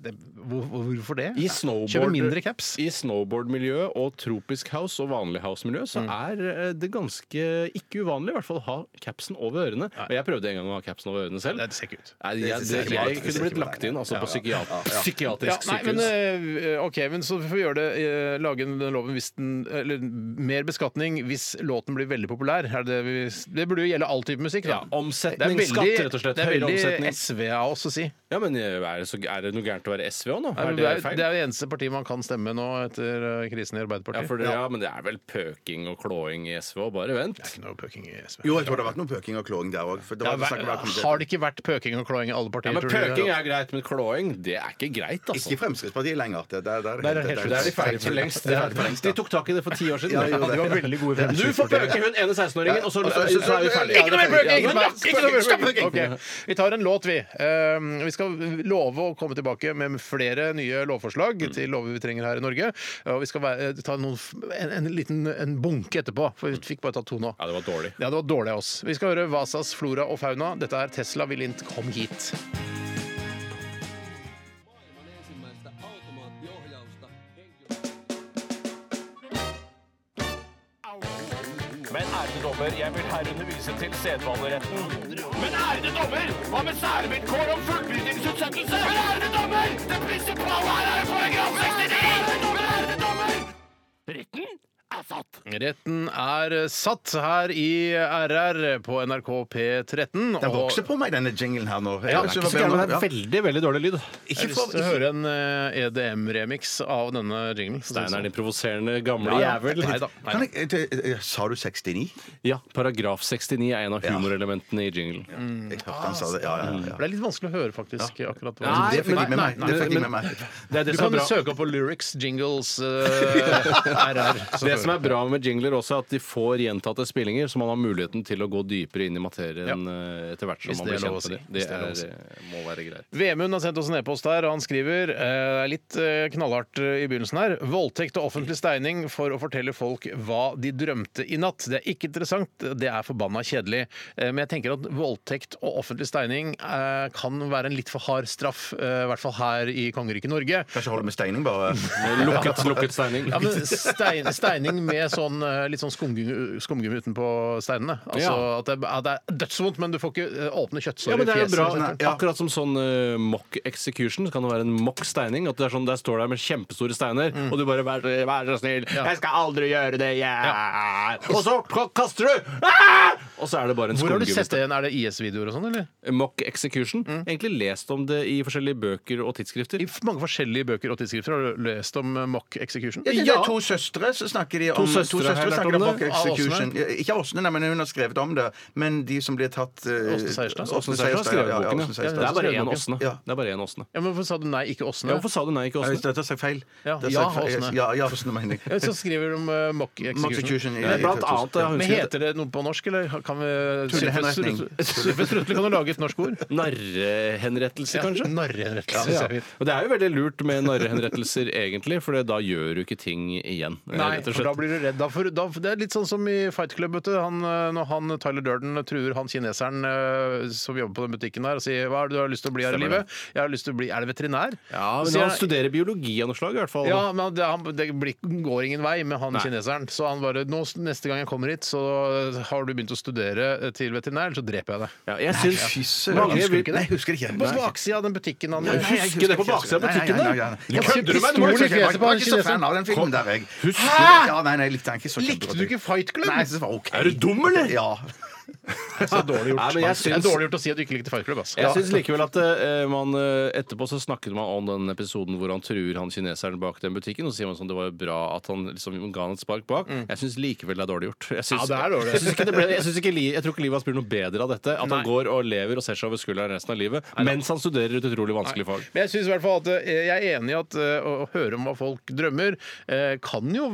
det, hvor, hvor- hvorfor det? I snowboard- Kjøper mindre caps. I snowboardmiljø og tropisk house og vanlig house-miljø så er eh, det ganske ikke uvanlig i hvert fall å ha capsen over ørene. Og jeg prøvde en gang å ha capsen over ørene selv. Nei, det ser ikke ut. Nei, jeg, ser det, ikke bra jeg ut. Det ser kunne ikke blitt bra lagt inn altså, på psykiat- psykiatrisk Ja, nei, men, sykehus. eh, OK, men så får vi gjøre det eh, lage den loven hvis den Eller mer beskatning hvis låten blir veldig populær. Er det, det, vi, det burde jo gjelde all type musikk. Ja, Da. omsetningsskatt, Det er veldig- rett og slett. Det er Høyere veldig omsetning. SV av oss å si. Ja, men eh, er det, så, er det noe gærent å være SV òg nå? Nei, Er men det det, er, feil? det er det eneste partiet man kan stemme nå etter eh, krisen i Ja, Arbeiderpartiet. for det, ja, men det er vel pøking og klåing i SV òg. Bare vent. Det er ikke noe pøking i SV. Jo, jeg tror det har vært noe pøking og klåing der òg. Ja, har det ikke vært pøking og klåing i alle partier? Ja, men tror du? Pøking er greit, men klåing det er ikke greit, altså. Ikke Fremskrittspartiet lenger. Det, det, det, Nei, det er helt Det er de ferdig for lengst. Det er ferdig for lengst, De tok tak i det for ti år siden. Ja, de gjorde det. De var veldig gode venner. Du får pøke hun ene 16-åringen, og så, Og så- så, er vi ferdige. Ikke noe mer pøking! Ja, men da- Ikke noe mer Stopp pøking! pøking! Ok, Vi tar en låt, vi. Um, Vi skal love å komme tilbake med flere nye lovforslag Mm. til lover vi trenger her i Norge. Og vi skal være, ta noen, en, en liten en bunke etterpå, for vi fikk bare ta to nå. Ja, det var dårlig. Ja, det var dårlig av oss. Vi skal høre Vasas flora og fauna. Dette er Tesla Villint, kom hit. Men ærede dommer, jeg vil herunder vise til sedvaneretten. Men ærede dommer, hva med særvilkår om fullbyrdingsutsettelse? Men ærede dommer, det prinsipale her er paragraf 69! Men ærede dommer, retten er satt. Retten er satt her i RR på NRK P13. Den og- vokser på meg, denne jinglen her nå. Ja, det er Så gærent, men det er veldig, veldig dårlig lyd. Ikke Jeg har lyst for til å høre en eh, EDM-remix av denne jinglen. Steinar, din provoserende gamle Ja, ja. jævel. Nei da. Nei. kan jeg, eh, eh, Sa du 69? Ja, paragraf 69 er en av humorelementene i jinglen. Mm. Jeg hørte han sa det. Ja, ja, ja. For det er litt vanskelig å høre, faktisk. akkurat hva Nei, Det fikk de med nei, meg. Det fikk de med meg. Det er Du det som kan er bra. søke opp på lyrics, jingles, eh, RR. så Det som hører er du. bra med jingler også, er at de får gjentatte spillinger, så man har muligheten til å gå dypere inn i materien eh, etter hvert som Hvis man det blir er lov å kjent med det. si. Det Hvis det er lov å si. er, eh, må være greit. Vemund har sendt oss en e-post her, og han skriver eh, litt eh, knallhardt eh, i begynnelsen her. Voldtekt og offentlig steining for å fortelle folk hva de drømte i natt. Det er ikke interessant, det er forbanna kjedelig. Eh, men jeg tenker at voldtekt og offentlig steining eh, kan være en litt for hard straff, eh, i hvert fall her i kongeriket Norge. Kanskje holde med steining, bare. Lukket, lukket steining. Ja, men stein, steining med sånn, eh, litt sånn skumgummi, skumgummi utenpå steinene. Altså, Ja. at, det, at det er dødsvondt, men du får ikke eh, åpne Ja, kjøttsår men i det er jo fjeset. liksom. bra. for eksempel. Ja. Akkurat som sånn eh, mock execution, så kan det være en mock steining. At det er sånn, Der står der med kjempestore steiner, og du bare Vær, vær så snill, jeg skal aldri gjøre det igjen! Og så k- kaster du! Ah! Og så er det bare en Hvor har du sett skumgummist. det igjen? Er det IS-videoer og sånn, eller? Mock execution. Egentlig lest om det i forskjellige bøker og tidsskrifter. I f- mange forskjellige bøker og tidsskrifter har du lest om eh, mock execution. Ja, det er to søstre, så snakker de om To søstre har jeg lært snakker om om det. Rock Execution. Ja, Ikke av Åsne, nei, men hun har skrevet om det. Men de som ble tatt eh, Åsne Seierstad? Åsne Åsne Seierstad Seierstad, skrev ja, ja, boken, Åsne ja. Det Seierstad. er bare én Ja. Åsne. Det er bare én Åsne. Ja, men Hvorfor sa du nei, ikke Åsne? Ja, hvorfor sa du nei, ikke Ja, Åsne? Det det sa jeg feil. Ja, Det sa jeg ja, feil. Åsne. Ja, ja, Åsne, mener jeg. Ja, Så skriver de om eh, mock Mock execution. Execution. Det er Blant annet eh, har hun Men skrevet heter det noe på norsk, eller kan vi Tullehenretning. Suffe Strutle, kan du lage et norsk ord? narrehenrettelse, kanskje? Narrehenrettelse, Ja. synes jeg. Og det er jo veldig lurt med narrehenrettelser, egentlig, for da gjør du ikke ting igjen. eh, Nei, rett og for da slett. blir du redd, da for da, det er litt sånn som i Fight Club, vet du. Han, eh, når han, Tyler Durden truer han kineseren eh, som jobber på den butikken der, og sier 'Hva er det du har lyst til å bli her i Stemmer livet?' 'Jeg har lyst til å bli Er det veterinær?' Så Ja, men sier han han- studerer biologi av noe slag, i hvert fall. Ja, men det, han, det blir, går ingen vei med han Nei. kineseren. Så han bare nå, 'Neste gang jeg kommer hit, så har du begynt å studere til veterinær, så dreper jeg deg'. Ja, jeg syns mange Husker vil ikke Nei, jeg husker ikke. På baksida av den butikken han Nei, jeg husker det på baksida av butikken, Nei, nei, da. nei, nei. Jeg Kødder du meg? pistolen i Jeg var- fjeset på jeg var han ikke så kineseren. fan av den filmen der, jeg. Husker du- Hæ?! Ja, nei, nei, jeg likte den ikke så Likte kjempegodt. du ikke Fight Club? Nei, jeg synes det var OK. Er du dum, eller? Ja. Så dårlig gjort. Nei, men Det jeg er syns- dårlig gjort å si at du ikke likte Fight Club. ass. Jeg syns likevel at eh, man eh, etterpå så snakket man om den episoden hvor han truer han kineseren bak den butikken, og så sier man sånn det var jo bra at han liksom ga han et spark bak. Mm. Jeg syns likevel det er dårlig gjort. Jeg syns- Ja, det er dårlig. Jeg, syns ikke det ble, jeg, syns ikke, li- jeg tror ikke livet hans blir noe bedre av dette. At han går og lever og ser seg over skulderen resten av livet mens han studerer et utrolig vanskelig fag. Men jeg synes i hvert fall at eh, jeg er enig i at eh, å å høre om hva folk drømmer, eh, kan jo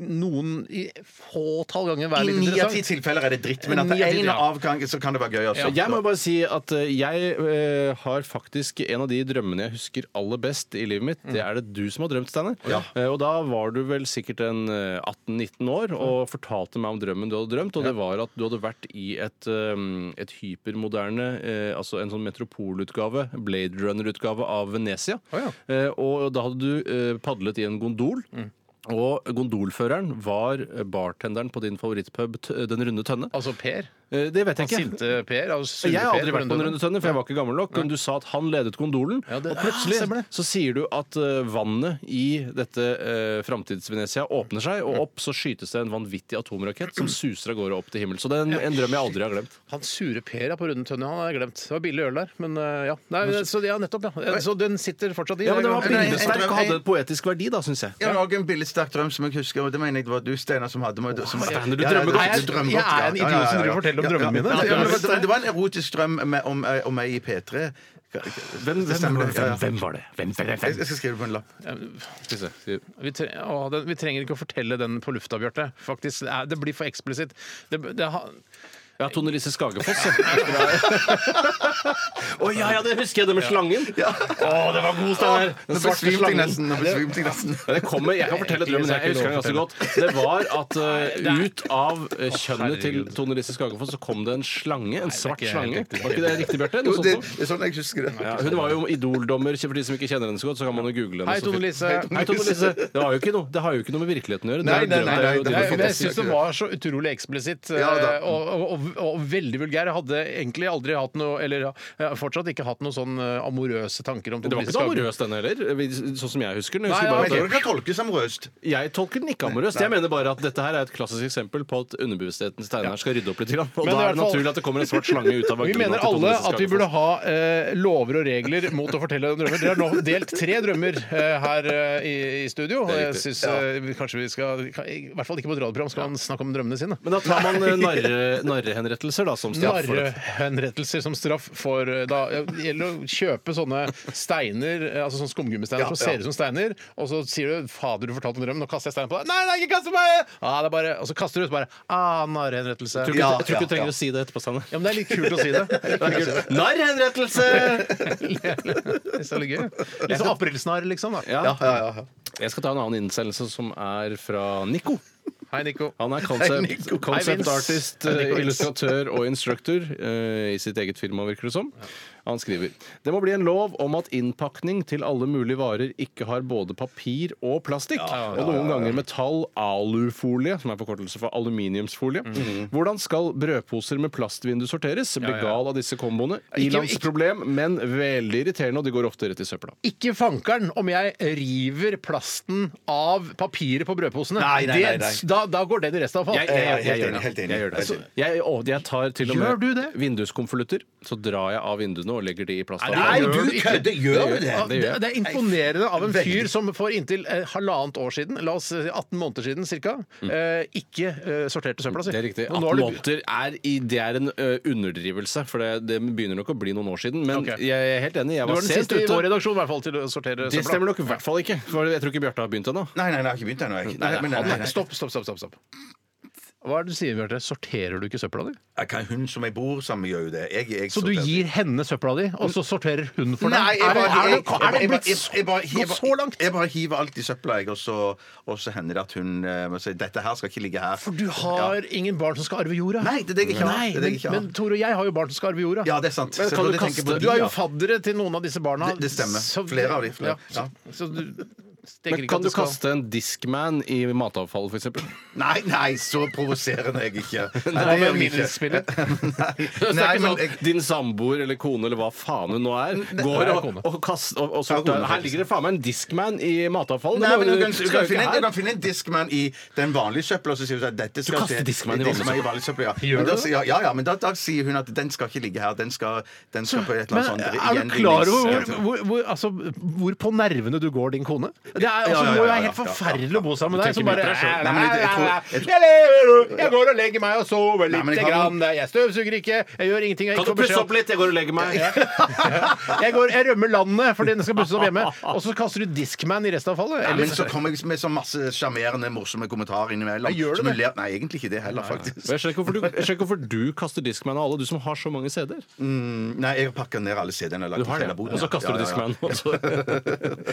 noen i fåtall ganger være I litt ni av ti interessant. tilfeller er det dritt, men at det Ni av er ti, en ja. av gangene så kan det være gøy. Også. Ja, jeg må bare si at eh, jeg eh, har faktisk en av de drømmene jeg husker aller best i livet mitt. Det er det du som har drømt, Steinar. Eh, og da var du vel sikkert en eh, 18-19 år og fortalte meg om drømmen du hadde drømt. Og det var at du hadde vært i et, eh, et hypermoderne, eh, altså en sånn metropolutgave, Blade Runner-utgave av Venezia. Å, Eh, og da hadde du eh, padlet i en gondol. Og gondolføreren var bartenderen på din favorittpub T- Den runde tønne. Altså Per. Eh, Det vet jeg ikke. Sinte Per. Altså sure Jeg har aldri Per, vært på en runde tønne, for jeg var ikke gammel nok. Men du sa at han ledet gondolen, Ja, det- og plutselig Ah, stemmer det. så sier du at eh, vannet i dette uh, framtids-Venezia åpner seg, og opp så skytes det en vanvittig atomrakett som suser av gårde opp til himmelen. Så det er en, en drøm jeg aldri har glemt. Han sure Per er på Runde Tønne, han har jeg glemt. Det var billig øl der, men eh, ja. Nei, så, ja nettopp, ja. Så den sitter fortsatt i. Ja, men det var er jeg glad for. bildesterk og bildesterk og hadde hadde poetisk verdi, da, syns jeg. Jeg har også en billedsterk drøm som jeg husker, og det mener jeg det var du, Steinar, som hadde. med- som- Steinar, du Ja, ja, drømmer du godt. drømmer Jeg er- godt, jeg er en ja. Ja, idiot som ja, ja, driver og forteller om ja, ja. drømmene mine. Ja, ja, men det var- Det var en erotisk drøm med- om, om meg i P3. Hvem, Det stemmer, hvem, ja, ja. hvem, hvem var det? Hvem, hvem, hvem, Jeg hvem? jeg skal skrive det på en lapp. Skal vi se. Skal Vi, tre å, den, vi trenger ikke å fortelle den på lufta, Bjarte. Faktisk, det er- Det blir for eksplisitt. Det, det, har- vi- Ja, Tone Lise Skagerfoss. Å ja, ja, det husker jeg, det med slangen. Å, det var god, Steinar. Nå Den svarte besvimte jeg slangen. nesten. Nå besvimte jeg nesten. Ja, det kommer, jeg kan fortelle drømmen. Jeg husker den ganske godt. Det var at eh, ut av eh, kjønnet til herregud. Tone Lise Skagerfoss så kom det en slange. En svart ikke helt slange. riktig. Var ikke det riktig, Bjarte? Jo, Noe det, sånt noe? det er sånn jeg husker det. Ja, hun var jo idoldommer. For de som ikke kjenner henne så godt, så kan man jo google henne. Hei, så Tone fint. Lise. Hei, Tone Lise. Det, var jo ikke noe, det har jo ikke noe med virkeligheten å gjøre. Det Nei, er nei, drøm. nei, Det er nei, jo det din er, men jeg fantasi. syns den var så utrolig eksplisitt Ja, da. eh, og, og, og, og veldig vulgær. Jeg hadde egentlig aldri hatt noe Eller jeg har fortsatt ikke hatt noen sånn eh, amorøse tanker om Men Det var ikke så amorøs, den heller, vi- sånn som jeg husker den. Jeg, Nei, husker ja, bare at Men jeg tror det kan tolkes som røst. jeg tolker den ikke amorøst. Jeg mener bare at dette her er et klassisk eksempel på at underbevissthetens tegner skal rydde opp litt. grann. Og Men i da er hvert det fall- naturlig at det kommer en svart slange ut av Vi vaginaen mener til Tone alle Lise at vi Skagerfoss. burde ha eh, lover og regler mot å fortelle om drømmer. Dere har nå delt tre drømmer eh, her eh, i, i studio. Og jeg riktig. syns eh, vi- kanskje vi skal I hvert fall ikke på et radioprogram skal man snakke om drømmene sine. Men da tar man eh, narre- narrehenrettelser da, som straff for det. Narrehenrettelser som straff for eh, da ja, det gjelder å kjøpe sånne steiner, eh, altså sånne skumgummisteiner som ser ut som steiner, og så sier du 'fader, du fortalte en drøm', nå kaster jeg steinen på deg. Nei, nei, ikke kaste meg! Ja, det er bare, og så kaster du ut bare ah, narrehenrettelse. Jeg tror ikke, jeg tror ikke du trenger å si det etterpå, Steinar. Ja, men det er litt kult å si det. Det er litt eh, kult. Narrehenrettelse! Det er litt gøy. Litt sånn aprilsnarr, liksom. da. Ja. Jeg skal ta en annen innsendelse som er fra Nico. Hei, Nico. Han er Hei, concept, Nico. Hei, concept Vince. artist, eh, Hei, Nico. illustratør og instructor eh, i sitt eget firma, virker det som. Han skriver Det må bli en lov om at innpakning til alle mulige varer ikke har både papir og plastikk, og noen ganger metall, alufolie, som er forkortelse for aluminiumsfolie. Hvordan skal brødposer med plastvindu sorteres? Blir gal av disse komboene. Ilandsproblem, men veldig irriterende, og de går ofte rett i søpla. Ikke fankeren om jeg river plasten av papiret på brødposene. Nei, nei, nei, nei. Det, da, da går den i restavfall. Jeg, jeg, jeg, jeg, helt gjør enig, det. helt enig. jeg gjør det. Helt enig. Jeg, å, jeg tar til og Gjør du med det? vinduskonvolutter. Så drar jeg av vinduene og legger de i Nei, plastavfallet. du kødder! Gjør du Ja, det gjør det, jeg. det er imponerende av en fyr som for inntil eh, halvannet år siden, la oss si 18 måneder siden ca., eh, ikke eh, sorterte søpla si. Mm. Det er riktig. Og 18 nå har du- måneder er, i, det er en ø, underdrivelse, for det, det begynner nok å bli noen år siden. Men Ok. jeg er helt enig. Jeg Du var, var den sent siste i vår ute. redaksjon i hvert fall til å sortere Det søpla. stemmer nok i hvert fall ikke. For jeg tror ikke Bjarte har begynt ennå. Nei, nei, nei, jeg har ikke begynt ennå. jeg. Nei, Nei, men nei, nei, nei. Stopp, stopp, stopp. stopp, stopp. Hva er det du sier, Bjarte? Sorterer du ikke søpla di? Jeg kan hun som jeg bor sammen med, gjør jo det. Jeg, jeg Så du sorterer- gir henne søpla di, og så sorterer hun for deg? Nei, jeg Er det- bare- er det- jeg- jeg- er det jeg- blitt jeg- jeg bare- så- gått jeg bare- så langt? Jeg bare hiver alt i søpla, jeg, og så, og så hender det at hun eh, må si dette her skal ikke ligge her. For du har ja. ingen barn som skal arve jorda? Nei, det er det jeg ikke har. Nei, Det er det jeg men, ikke har. men Tore og jeg har jo barn som skal arve jorda. Ja, det er sant. Men Så kan du, da tenker jeg på kaste, de, du er jo ja. faddere til noen av disse barna. Det- det stemmer. Flere av de, flere. så- Så du tenker ikke Men at kan du du skal kaste en Discman i matavfall, f.eks.? Nei, nei, så provoserende er jeg ikke. Hva Nei, det med gjør jeg ikke. minispillet? Nei, Det er ikke nei, men sånn jeg, at Din samboer eller kone eller hva faen hun nå er, går Nei, og, kone. og, kaster, og, og Ja, sorter. kone, Her ligger det faen meg en Discman i matavfall. Nei, Det må- men du kan, skal du jo kan ikke finne, en- her. du kan finne en diskman i den vanlige søpla, og så sier du at dette skal kaster til- diskman i diskman vanlig i vanlig søpla. Ja. Gjør Men du da det? sier- Ja, ja, men da, da sier hun at den skal ikke ligge her. Den skal, den skal på et eller Men eh, annet sånt er du gjenvinnings- klar over hvor, hvor, hvor, altså, hvor på nervene du går, din kone? Det er, altså, ja, ja, må jo ja, være ja, helt ja, ja, forferdelig å bo sammen med Du deg som tenker mye bare på deg selv. Nei, men jeg- jeg tror- jeg- Jeg lever jo! Jeg går og legger meg og sover Nei, men lite jeg har grann. Jeg støvsuger ikke, jeg gjør ingenting. Jeg, Kan ikke du får pusse beskjed opp litt? Jeg går og legger meg. om- jeg, går, jeg rømmer landet fordi den skal busses opp hjemme. Og så kaster du Discman i restavfallet. Ja, men Eller- så kommer jeg med så masse sjarmerende, morsomme kommentarer innimellom. Ja, gjør du som hun det? ler- Nei, egentlig ikke det heller, faktisk. Men Jeg skjønner ikke hvorfor du, jeg skjønner ikke hvorfor du kaster Discman av alle, du som har så mange CD-er. Nei, jeg har pakka ned alle CD-ene. jeg har lagt i hele boden, Og så ja. kaster du Ja, ja, ja. Discman, og så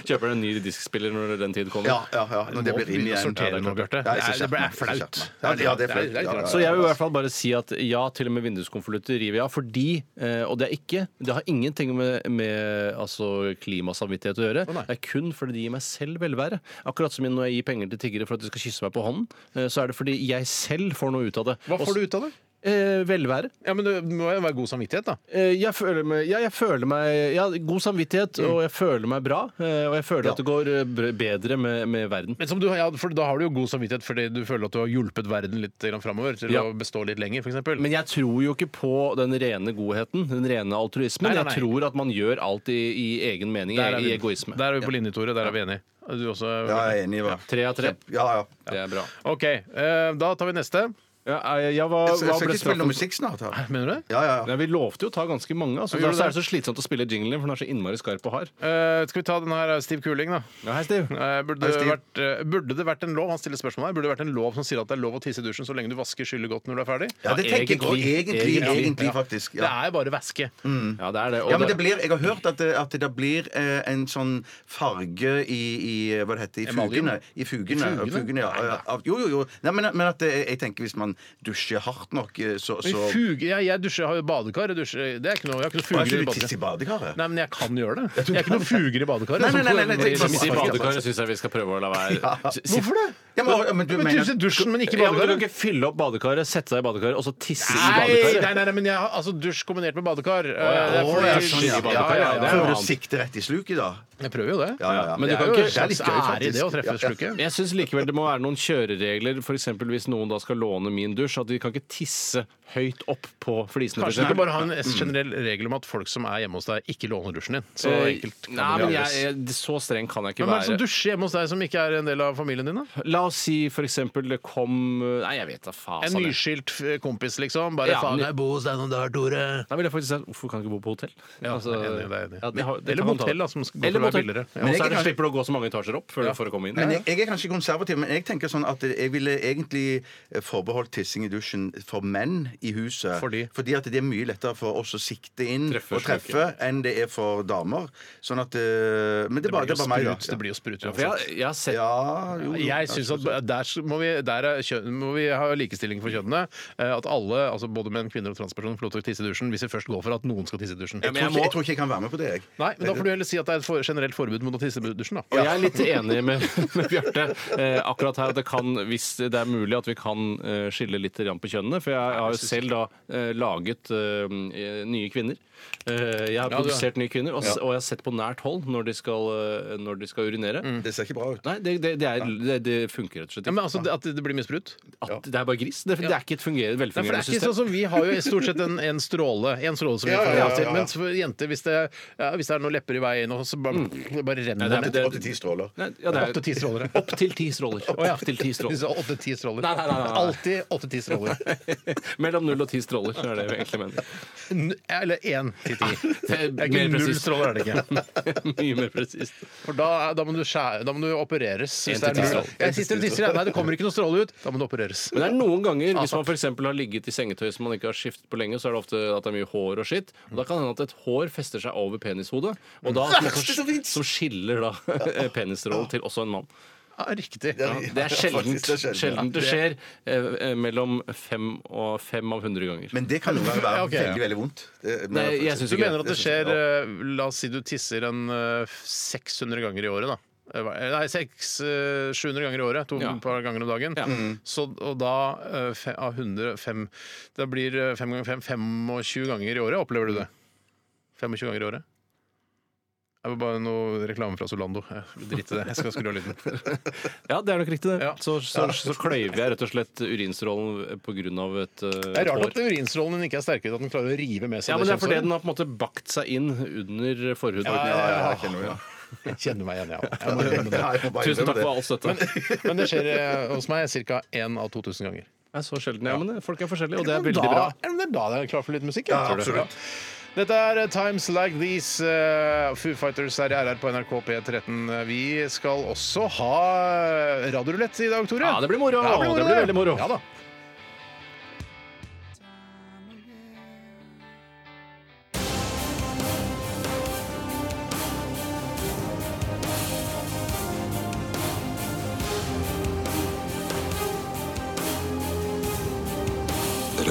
kjøper du en ny diskspiller når den tid kommer. Ja, ja, ja. Når det blir inn Begynne å igjen. sortere nå, Bjarte. Ja, jeg Nei, ser Det ble- er skjermen, jeg ser flaut. skjermen. Ja, det- ja, det er flaut. litt Ja, ja, ja. Så jeg vil i hvert fall bare si at ja, til og med vinduskonvolutter river jeg av, fordi eh, Og det er ikke Det har ingenting med, med altså, klimasamvittighet å gjøre. det er kun fordi det gir meg selv velvære. Akkurat som når jeg gir penger til tiggere for at de skal kysse meg på hånden, eh, så er det fordi jeg selv får noe ut av det. Hva får du ut av det? Eh, velvære. Ja, men Det må jo være god samvittighet, da. Eh, Jeg føler meg, ja, jeg føler meg ja, god samvittighet, Mm. og jeg føler meg bra. eh, Og jeg føler at det går eh, br- bedre med, med verden. Men som du, har- ja, for Da har du jo god samvittighet fordi du føler at du har hjulpet verden litt framover til Ja. å bestå litt lenger, f.eks. Men jeg tror jo ikke på den rene godheten, den rene altruismen. Nei, nei, nei. Jeg tror at man gjør alt i, i egen mening, Der er i vi- egoisme. Der er vi på linje, Tore. Der er vi enige. Du også? Ja, jeg er enig. Hva. Tre av tre. Ja, ja. Det er bra. OK, eh, da tar vi neste. Ja, jeg, jeg, hva, hva Jeg skal jeg skal ble ikke spille straffen? nummer seks snart. her. Mener du det? Ja, ja, ja. Nei, vi lovte jo å ta ganske mange. Altså, Ja, gjorde da det. er det så slitsomt å spille jinglen, for den er så innmari skarp og hard. Eh, skal vi ta den her Steve Kuling, da? Ja, hei, Steve. Eh, burde, Hei, det Steve. vært, eh, burde det vært en lov Han stiller spørsmål her Burde det vært en lov som sier at det er lov å tisse i dusjen så lenge du vasker skyllet godt når du er ferdig? Ja, det tenker jeg også. egentlig. Egentlig, Egentlig, egentlig, faktisk. Det Ja. er bare væske. Mm, Mm. Ja, det er det. Og Ja, men det det- blir, Jeg har hørt at det, at det da blir eh, en sånn farge i, i hva det heter, i Emaljen? fugene. I fugene, I fugene? fugene ja. Av- Jo, jo, jo. Nei, men, men at det, jeg tenker hvis man dusjer hardt nok, eh, så, Men så Fuge, jeg, jeg dusjer, jeg har jo badekar. Jeg dusjer, det er ikke noe, jeg har ikke noe Hva er fuger i det du tisser i badekaret. badekaret? Nei, men jeg kan gjøre det. Jeg er ikke noe fuger i badekaret. Nei, nei, nei, nei, nei, Sånn- det er Hvis i ikke- badekaret syns jeg vi skal prøve å la være. Si- Hvorfor det? Ja, men, ja, men du Men mener Tisse i dusjen, men ikke i Ja, men du kan badekaret. ikke fylle opp badekaret, sette deg i badekaret og så tisse i Nei, badekaret. nei, nei, nei, men jeg har altså dusj kombinert med badekar. Eh, det er Å, fordi- ja, sånn, ja. Ja, ja, ja. det er noe Prøver du å annet. sikte rett i sluket, da? Jeg prøver jo det. Ja, ja, ja. Men du det kan er jo en ikke- slags det er litt gøy, ære i det å treffe sluket. Jeg syns likevel det må være noen kjøreregler, f.eks. hvis noen da skal låne min dusj, at de kan ikke tisse høyt opp på flisene. for Kanskje du eksempel. ikke bare ha en generell regel om at folk som er hjemme hos deg, ikke låner dusjen din. Så Eh, enkelt kan Nei, det men gjøres. jeg, jeg, så streng kan jeg ikke Hvem er det som være. dusjer hjemme hos deg som ikke er en del av familien din? da? La oss si for eksempel det kom Nei, jeg vet da faen. En sa det. nyskilt eh, kompis, liksom. Bare Ja, faen, ny- jeg bor hos deg noen dager, Tore. Da vil jeg faktisk si hvorfor kan jeg ikke bo på hotell? Ja, Altså, jeg er enig, det er enig. ja, det har- det Eller kan man ta. motell, da, som går for Eller å være motell. billigere. Ja. Og Men jeg så er det- kan- slipper du å gå så mange etasjer opp før, for å komme inn. Men jeg, jeg er kanskje konservativ, men jeg tenker sånn at jeg ville egentlig eh, forbeholdt tissing i dusjen for menn i huset. Fordi? at det er mye lettere for oss å sikte inn Treffe og treffe enn det er for damer. Sånn at eh, Men det, er bare- det er bare meg, da. sprut, det blir jo sprut Ja, for jeg, uansett. jeg har sett Ja, jo, jo. Jeg synes at Der må vi, der er kjønn, må vi ha likestilling for kjønnene. eh, At alle, altså både menn, kvinner og transpersoner, får lov til å tisse i dusjen hvis vi først går for at noen skal tisse i dusjen. Ja, Jeg tror, ikke, jeg tror ikke jeg kan være med på det, jeg. Nei, men Da får du heller si at det er et for, generelt forbud mot å tisse i dusjen. Og da jeg er litt enig med, med Bjarte eh, akkurat her at det kan, hvis det er mulig, at vi kan eh, skille litt grann på kjønnene. For jeg har jo selv da eh, laget eh, nye kvinner. Eh, jeg har du har- produsert nye kvinner, og, s- og jeg har sett på nært hold når de skal, eh, når de skal urinere. Det ser ikke bra ut. Nei, det, det, det, er, det, det funker rett og slett Mm. Ja, ikke. men altså, det- At det blir mye sprut? At det er bare gris. Det, det er ikke et fungerende, Nei, for det velfungerende er ikke sånn system. som Vi har jo stort sett en, en stråle En stråle som vi Ja, får ja, ja, ja, ja. Men for jenter, hvis det, ja, hvis det er noen lepper i veien, og så bare, det bare renner Mm. Nei, det det- Opp til ti stråler. Nei, ja, det er- Opp til ti stråler, ja. Opp til ti stråler. Å, ja. Opp til ti Du stråler. sa åtte-ti stråler. Nei, nei, nei, nei, nei. Alltid åtte-ti stråler. Mellom null og ti stråler, er det vi egentlig mener. N- Eller én til ti. Det er er ikke mer null presist. stråler, er det ikke. Mye mer presist. For da, er- da, må, du skjære, da må du opereres. Én Hvis til det er ti null. stråler. Jeg, sist tisser og tisser, ja, nei, det kommer ikke noe stråle ut, da må det opereres. Men det er noen ganger, hvis man f.eks. har ligget i sengetøy som man ikke har skiftet på lenge, så er det ofte at det er mye hår og skitt. Og da kan det hende at et hår fester seg over penishodet, og da, som, Verste som finnes! som skiller da eh, penisrollen til også en mann. Ja, riktig. Ja, det er Ja, sjeldent. faktisk, det er sjeldent, ja. Sjeldent det skjer eh, eh, mellom fem og fem av hundre ganger. Men det kan jo være Ja, ok, ja. veldig, veldig vondt. Det- men Nei, i hvert fall- jeg syns Du ikke mener at det det skjer synes eh, La oss si du tisser en eh, 600 ganger i året, da. Eh, hva- Nei, 600-700 ganger i året. To Ja. par ganger om dagen. Ja. Mhm. Så, og da eh, fe- av 100 fem- Det blir eh, fem ganger fem 25 ganger i året, opplever du det? 25 ganger i året? Det var bare noe reklame fra Solando. Jeg Drit i det. Jeg skal skru av lyden. Ja, det er nok riktig, det. Ja. Så, så, så kløyver jeg rett og slett urinstrålen pga. et, eh, Det er et rart hår. at urinstrålen din ikke er sterkere, at den klarer å rive med seg Ja, men det er fordi kjønnshåret. den har på en måte bakt seg inn under forhuden. Ja, ja, ja, jeg kjenner det, ja. Jeg Kjenner meg igjen, ja. Ja, Jeg må innrømme det. jeg får bare Tusen takk innrømme for all støtte. Men det skjer eh, hos meg ca. 1 av 2000 ganger. Det er så sjelden. Ja, men det- folk er forskjellige, og det er Men veldig da, bra. Ja, men det er da det er klar for litt musikk. jeg, Ja, tror det. absolutt. Ja. Dette er eh, Times Like These. eh, Foo Fighters her i RR på NRK P13. Vi skal også ha eh, radiorulett i dag, Tore. Ja, det blir moro. Ja, det blir Det blir veldig moro. Ja da.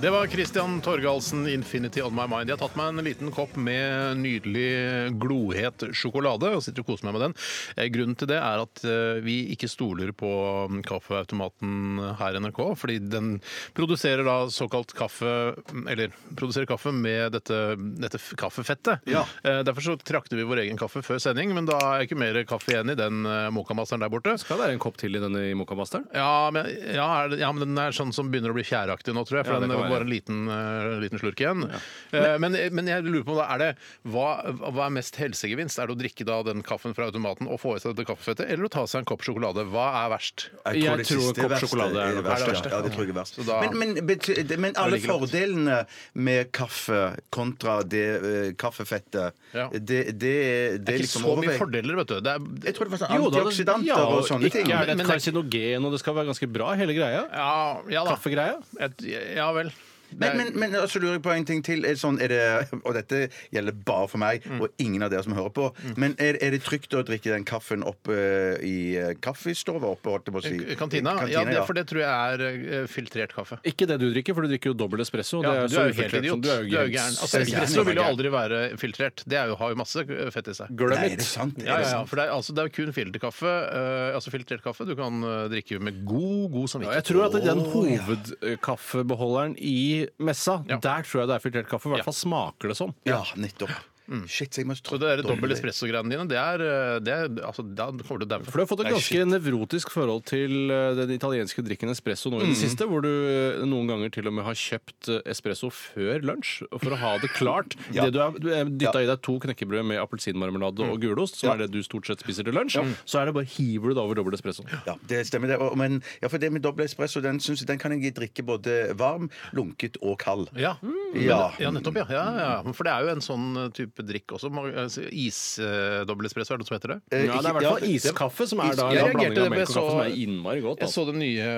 Det var Christian Torgalsen, 'Infinity On My Mind'. Jeg har tatt meg en liten kopp med nydelig glohet sjokolade og sitter og koser meg med den. Eh, Grunnen til det er at eh, vi ikke stoler på mm, kaffeautomaten her i NRK, fordi den produserer da såkalt kaffe mm, Eller produserer kaffe med dette, dette f- kaffefettet. Eh, Derfor så trakte vi vår egen kaffe før sending, men da er ikke mer kaffe igjen i den eh, mokkamasseren der borte. Skal være en kopp til i denne i mokkabasteren. Ja men, ja, er det- ja, men den er sånn som begynner å bli fjæraktig nå, tror jeg. For Ja, det den kan var være. bare en liten, eh, liten slurk igjen. Eh, Men, men jeg lurer på om da er det, hva, hva er mest helsegevinst? Er det å drikke da den kaffen fra automaten og få i seg dette kaffefettet, eller å ta seg en kopp sjokolade? Hva er verst? Jeg det tror siste kopp verste sjokolade er det verste, verste, ja. Ja, det tror jeg er verst. da- men, men, bety- det- men alle fordelene med kaffe kontra det eh, kaffefettet, Ja. det, det, det, Det er er ikke liksom så mye overvekt. fordeler, vet du. Det er, Jeg tror det var sånn Jo, da- antioksidanter ja, og sånne ting. Ikke er det Men- et karsinogen, og det skal være ganske bra, hele greia. ja, ja da. Kaffegreia. Et- Ja vel. Men, men, men så lurer jeg på en ting til. Er det sånn, er det, og dette gjelder bare for meg Mm. og ingen av dere som hører på. Men er, er det trygt å drikke den kaffen opp eh, i eh, kaffestova oppe, holdt jeg på å si? K- Kantina? Ja, det, for det tror jeg er eh, filtrert kaffe. Ikke det du drikker, for du drikker jo dobbel espresso. og Ja, det du er jo så helt ufiltrert idiot. som- Du er jo gæren. Altså, Jeg er espresso gæren. vil jo aldri være filtrert. Det er jo, har jo masse fett i seg. Glem Nei, it. er det sant? Ja, Er det ja, ja, sant? for det er, altså, det er jo kun filterkaffe. eh, altså filtrert kaffe du kan eh, drikke med god, god Ja, samvittighet. jeg tror at den hovedkaffebeholderen i messa, der tror jeg det er filtrert kaffe. I hvert fall smaker det sånn. Ja, nettopp. Shit, så jeg må Mm. Så det er dobbel espresso-greiene dine, det er, eh, det er altså, Da kommer du For du daue. har fått et Nei, ganske nevrotisk forhold til eh, den italienske drikken espresso nå i Mhm. det siste, hvor du eh, noen ganger til og med har kjøpt eh, espresso før lunsj for å ha det klart. Det du har dytta i deg to knekkebrød med appelsinmarmelade Mm. og gulost, som er det du stort sett spiser til lunsj, så er det bare hiver du det over dobbel espresso. Ja, det stemmer det. Og, men ja, for det med dobbel espresso, den, synes, jeg- den kan jeg drikke både varm, lunket og kald. Ja. Mm. Ja. ja, nettopp. Ja. Ja, ja. ja. For det er jo en sånn eh, type drikk også. Ma- altså, Is eh, dobbel espresso, er det som heter det? Eh, Ja, det er i ikke- hvert fall ja, iskaffe, som er da Jeg en reagerte på blanding av det, melk og kaffe, som er så- innmari godt. Jeg Altså. så den nye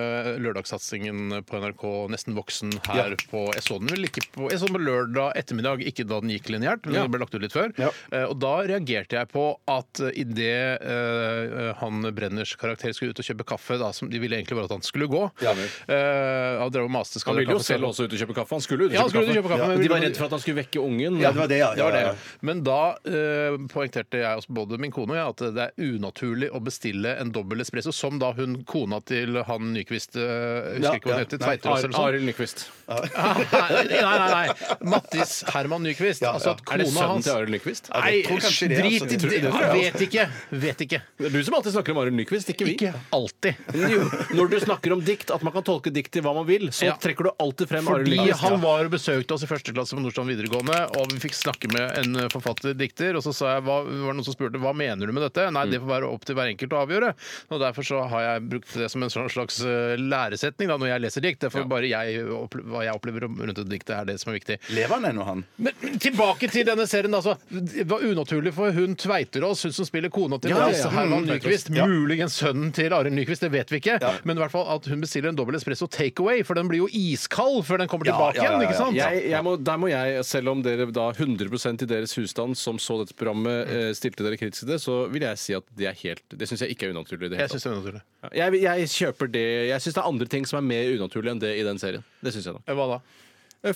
lørdagssatsingen på NRK Nesten voksen her på Jeg så den vel ikke på Jeg så den på lørdag ettermiddag, ikke da den gikk lineært, men Ja. den ble lagt ut litt før. Ja. Eh, og da reagerte jeg på at eh, i det eh, han Brenners karakter skulle ut og kjøpe kaffe, da, som de ville egentlig bare at han skulle gå Ja, vel. eh, Han drev og maste. skal Han dere ville jo kaffe selv også ut og kjøpe kaffe. Han skulle ut og Ja, han kjøpe skulle ut og kaffe. kjøpe kaffe, men De ville- var redd for at han skulle vekke ungen. Ja, det var det, ja. det var ja, ja. det. Men da eh, poengterte jeg, også, både min kone og jeg, at det er unaturlig å bestille en dobbel espresso, som da hun kona til han Nyquist eh, Husker Ja, ikke hva ja. hun heter. Nei, Tveiterås eller noe sånt. Arild Nyquist. nei, nei, nei, nei. Mattis Herman Nyquist. Ja, altså ja. at Er kona det sønnen hans til Arild Nyquist? Ja, Nei, jeg tror kanskje det, drit altså. i Jeg tror- det! jeg tror Jeg det, vet ikke. Vet ikke. Det er du som alltid snakker om Arild Nyquist, ikke vi. Ikke alltid. Jo, Når du snakker om dikt, at man kan tolke dikt til hva man vil, så Ja. trekker du alltid frem Arild Fordi Nyquist. han var og besøkte meldte oss i første klasse på Nordstrand videregående, og vi fikk snakke med en forfatter, dikter, og så sa jeg, hva, var det noen som spurte hva mener du med dette? Nei, det får være opp til hver enkelt å avgjøre. Og Derfor så har jeg brukt det som en sånn slags eh, læresetning da, når jeg leser dikt. Derfor bare jeg, opple- hva jeg opplever rundt et dikt, det er det som er viktig. Lever han ennå, han? Men tilbake til denne serien. Altså. Det var unaturlig for hun Tveiterås, hun som spiller kona til Ja, Mm, ja, ja. Lasse Herman Tveiterås. Nyquist. Ja. Muligens sønnen til Arild Nyquist, det vet vi ikke. Men i hvert fall at hun bestiller en dobbel espresso takeaway, for den blir jo iskald før den kommer tilbake ja, ja, igjen. ja. ikke sant? Jeg, jeg må, der må jeg, selv om dere da 100 i deres husstand som så dette programmet, eh, stilte dere kritisk til det, så vil jeg si at det er helt Det syns jeg ikke er unaturlig. i Det hele Jeg syns det er unaturlig. tatt. jeg, jeg kjøper det Jeg syns det er andre ting som er mer unaturlig enn det i den serien. Det syns jeg nok. Eh, Hva da?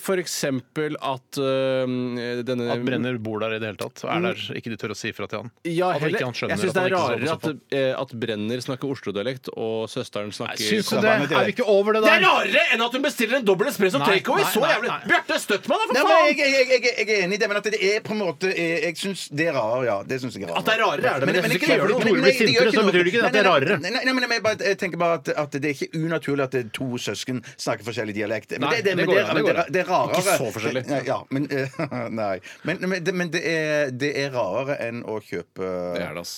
For eksempel at eh, denne At Brenner bor der i det hele tatt? Og er der ikke de tør å si ifra til han? Mm. ja, at heller, ikke han skjønner jeg syns det er at han ikke rarere sover på at, eh, at Brenner snakker Oslo-dialekt, og søsteren snakker Syns du Slapp det? av med det. Er vi ikke over det Det er der? rarere enn at hun bestiller en dobbel espresso Nei, takeaway! nei, Så nei, jævlig! nei. Bjarte, støtt meg, da, Nei, for men jeg, faen! jeg, jeg, jeg, jeg er enig i det, men at det er på en måte Jeg, jeg syns det er rarere, ja. Det syns jeg er rarere. At det er rarere, er det, men jeg synes ikke det gjør noe. Tore men- men- blir men- gjør sintere, så noe. betyr det ikke at det er Nei, rarere. Nei, nei, nei, men jeg, bare, jeg tenker bare at, at det er ikke unaturlig at det er to søsken snakker forskjellig dialekt. Men Nei, det, det, det men går det, an, det men går det, an. det er rarere. Ikke så forskjellig. Nei, ja, men eh, nei. Men, men, det, men det, er, det er rarere enn å kjøpe Det er det, ass.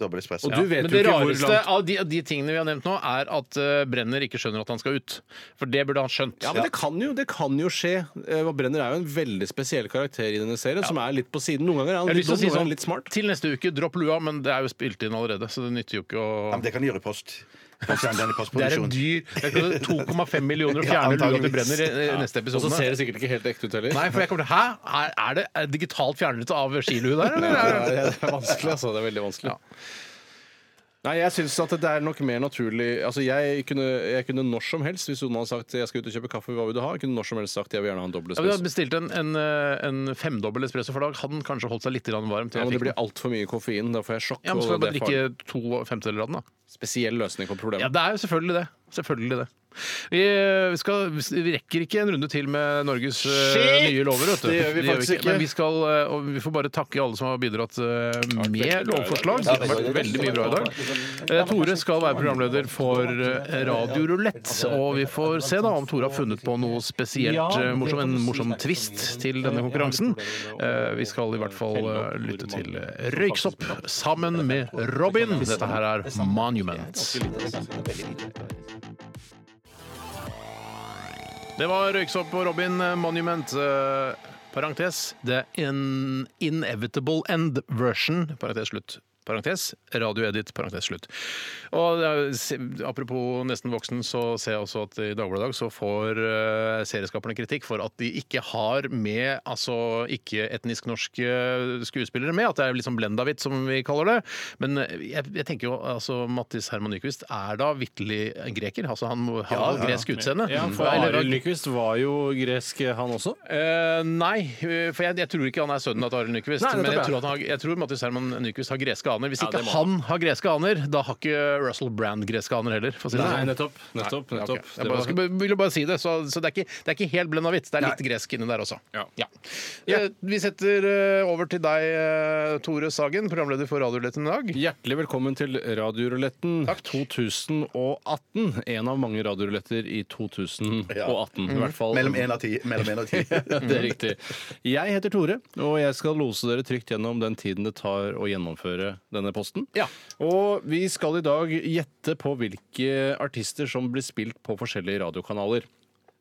dobbel espresso. Og du vet Men jo det ikke hvor rareste langt av de, av de tingene vi har nevnt nå, er at eh, Brenner ikke skjønner at han skal ut. For det burde han skjønt. Ja, men det kan jo, det kan jo skje. Eh, Brenner er jo en veldig spesiell karakter i denne serien, som er litt på siden. Noen ganger er han Jeg har litt lyst til å dum, si noen ganger sånn, er han litt smart. Til neste uke, dropp lua, men det er jo spilt inn allerede, så det nytter jo ikke å Ja, men det kan de gjøre i post. Posthandelen i Det er en postproduksjon. dyr det er ikke 2,5 millioner å Ja, fjerne lua til antageligvis. Brenner i i neste Og episode. så ser det sikkert ikke helt ekte ut heller. Nei, for jeg kommer til Hæ? Er, er det er det digitalt fjernet av skilue der, Det eller? er, Er det- det er vanskelig, altså. Det er veldig vanskelig. Ja. Nei, jeg syns at det er nok mer naturlig Altså, jeg kunne, jeg kunne når som helst, hvis noen hadde sagt 'jeg skal ut og kjøpe kaffe, hva vil du ha?' Jeg kunne når som helst sagt 'jeg vil gjerne ha en dobbel Ja, men jeg espresso'. hadde bestilt en, en, eh, en femdobbel espresso for dag. Hadde den kanskje holdt seg litt grann varm. til Ja, jeg men det fikk blir den. altfor mye koffein. Da får jeg sjokk. Ja, men og Skal du bare det er farlig. drikke to femtedeler av den, da? Spesiell løsning på problemet. Ja, det er jo selvfølgelig det. Selvfølgelig det. Vi, eh, vi, skal, vi rekker ikke en runde til med Norges eh, Shit! nye lover. Vet du. Det gjør vi faktisk ikke. Men vi, skal, eh, og vi får bare takke alle som har bidratt eh, med lovforslag. Ja, Det har vært veldig mye bra i dag. Eh, Tore skal være programleder for eh, Radio Rulett, og vi får se da om Tore har funnet på noe spesielt eh, morsom, en morsom twist til denne konkurransen. Eh, Vi skal i hvert fall eh, lytte til eh, Røyksopp sammen med Robin. Dette her er Monument. Det var Røyksopp og Robin eh, Monument. eh, Parentes The in Inevitable End Version. Parentes slutt. Parentes. Radioedit. Parentes slutt. Og det er- se- Apropos nesten voksen, så ser jeg også at i Dagbladet i dag så får eh, serieskaperne kritikk for at de ikke har med altså ikke-etnisk norske eh, skuespillere med. At det er liksom blendavit, som vi kaller det. Men eh, jeg, jeg tenker jo altså Mattis Herman Nyquist er da vitterlig en greker. Altså han må ha gresk utseende. Ja, for Eller- Arild Nyquist var jo gresk, han også. Eh, nei, eh, for jeg, jeg tror ikke han er sønnen til Arild Nyquist. Nei, nettopp, men jeg ja. tror, at han har, jeg tror Mattis Herman Nyquist har greske aner. Hvis Ja, ikke det må han har greske aner, da har ikke Russell Brand greske aner heller. For å si det sånn. nettopp. nettopp, Ja, ok. nettopp. Jeg bare, skulle, bare- ville bare si det, så, så det, er ikke, det er ikke helt blenda hvitt. Det er litt gresk inni der også. Ja. Eh, vi setter eh, over til deg, eh, Tore Sagen, programleder for Radioletten i dag. Hjertelig velkommen til Radioruletten Takk. 2018. En av mange radioruletter i 2018. Mhm. I hvert fall Mellom én og ti. Mellom en og ti. Det er riktig. Jeg heter Tore, og jeg skal lose dere trygt gjennom den tiden det tar å gjennomføre denne posten. Ja. Og vi skal i dag gjette på hvilke artister som blir spilt på forskjellige radiokanaler.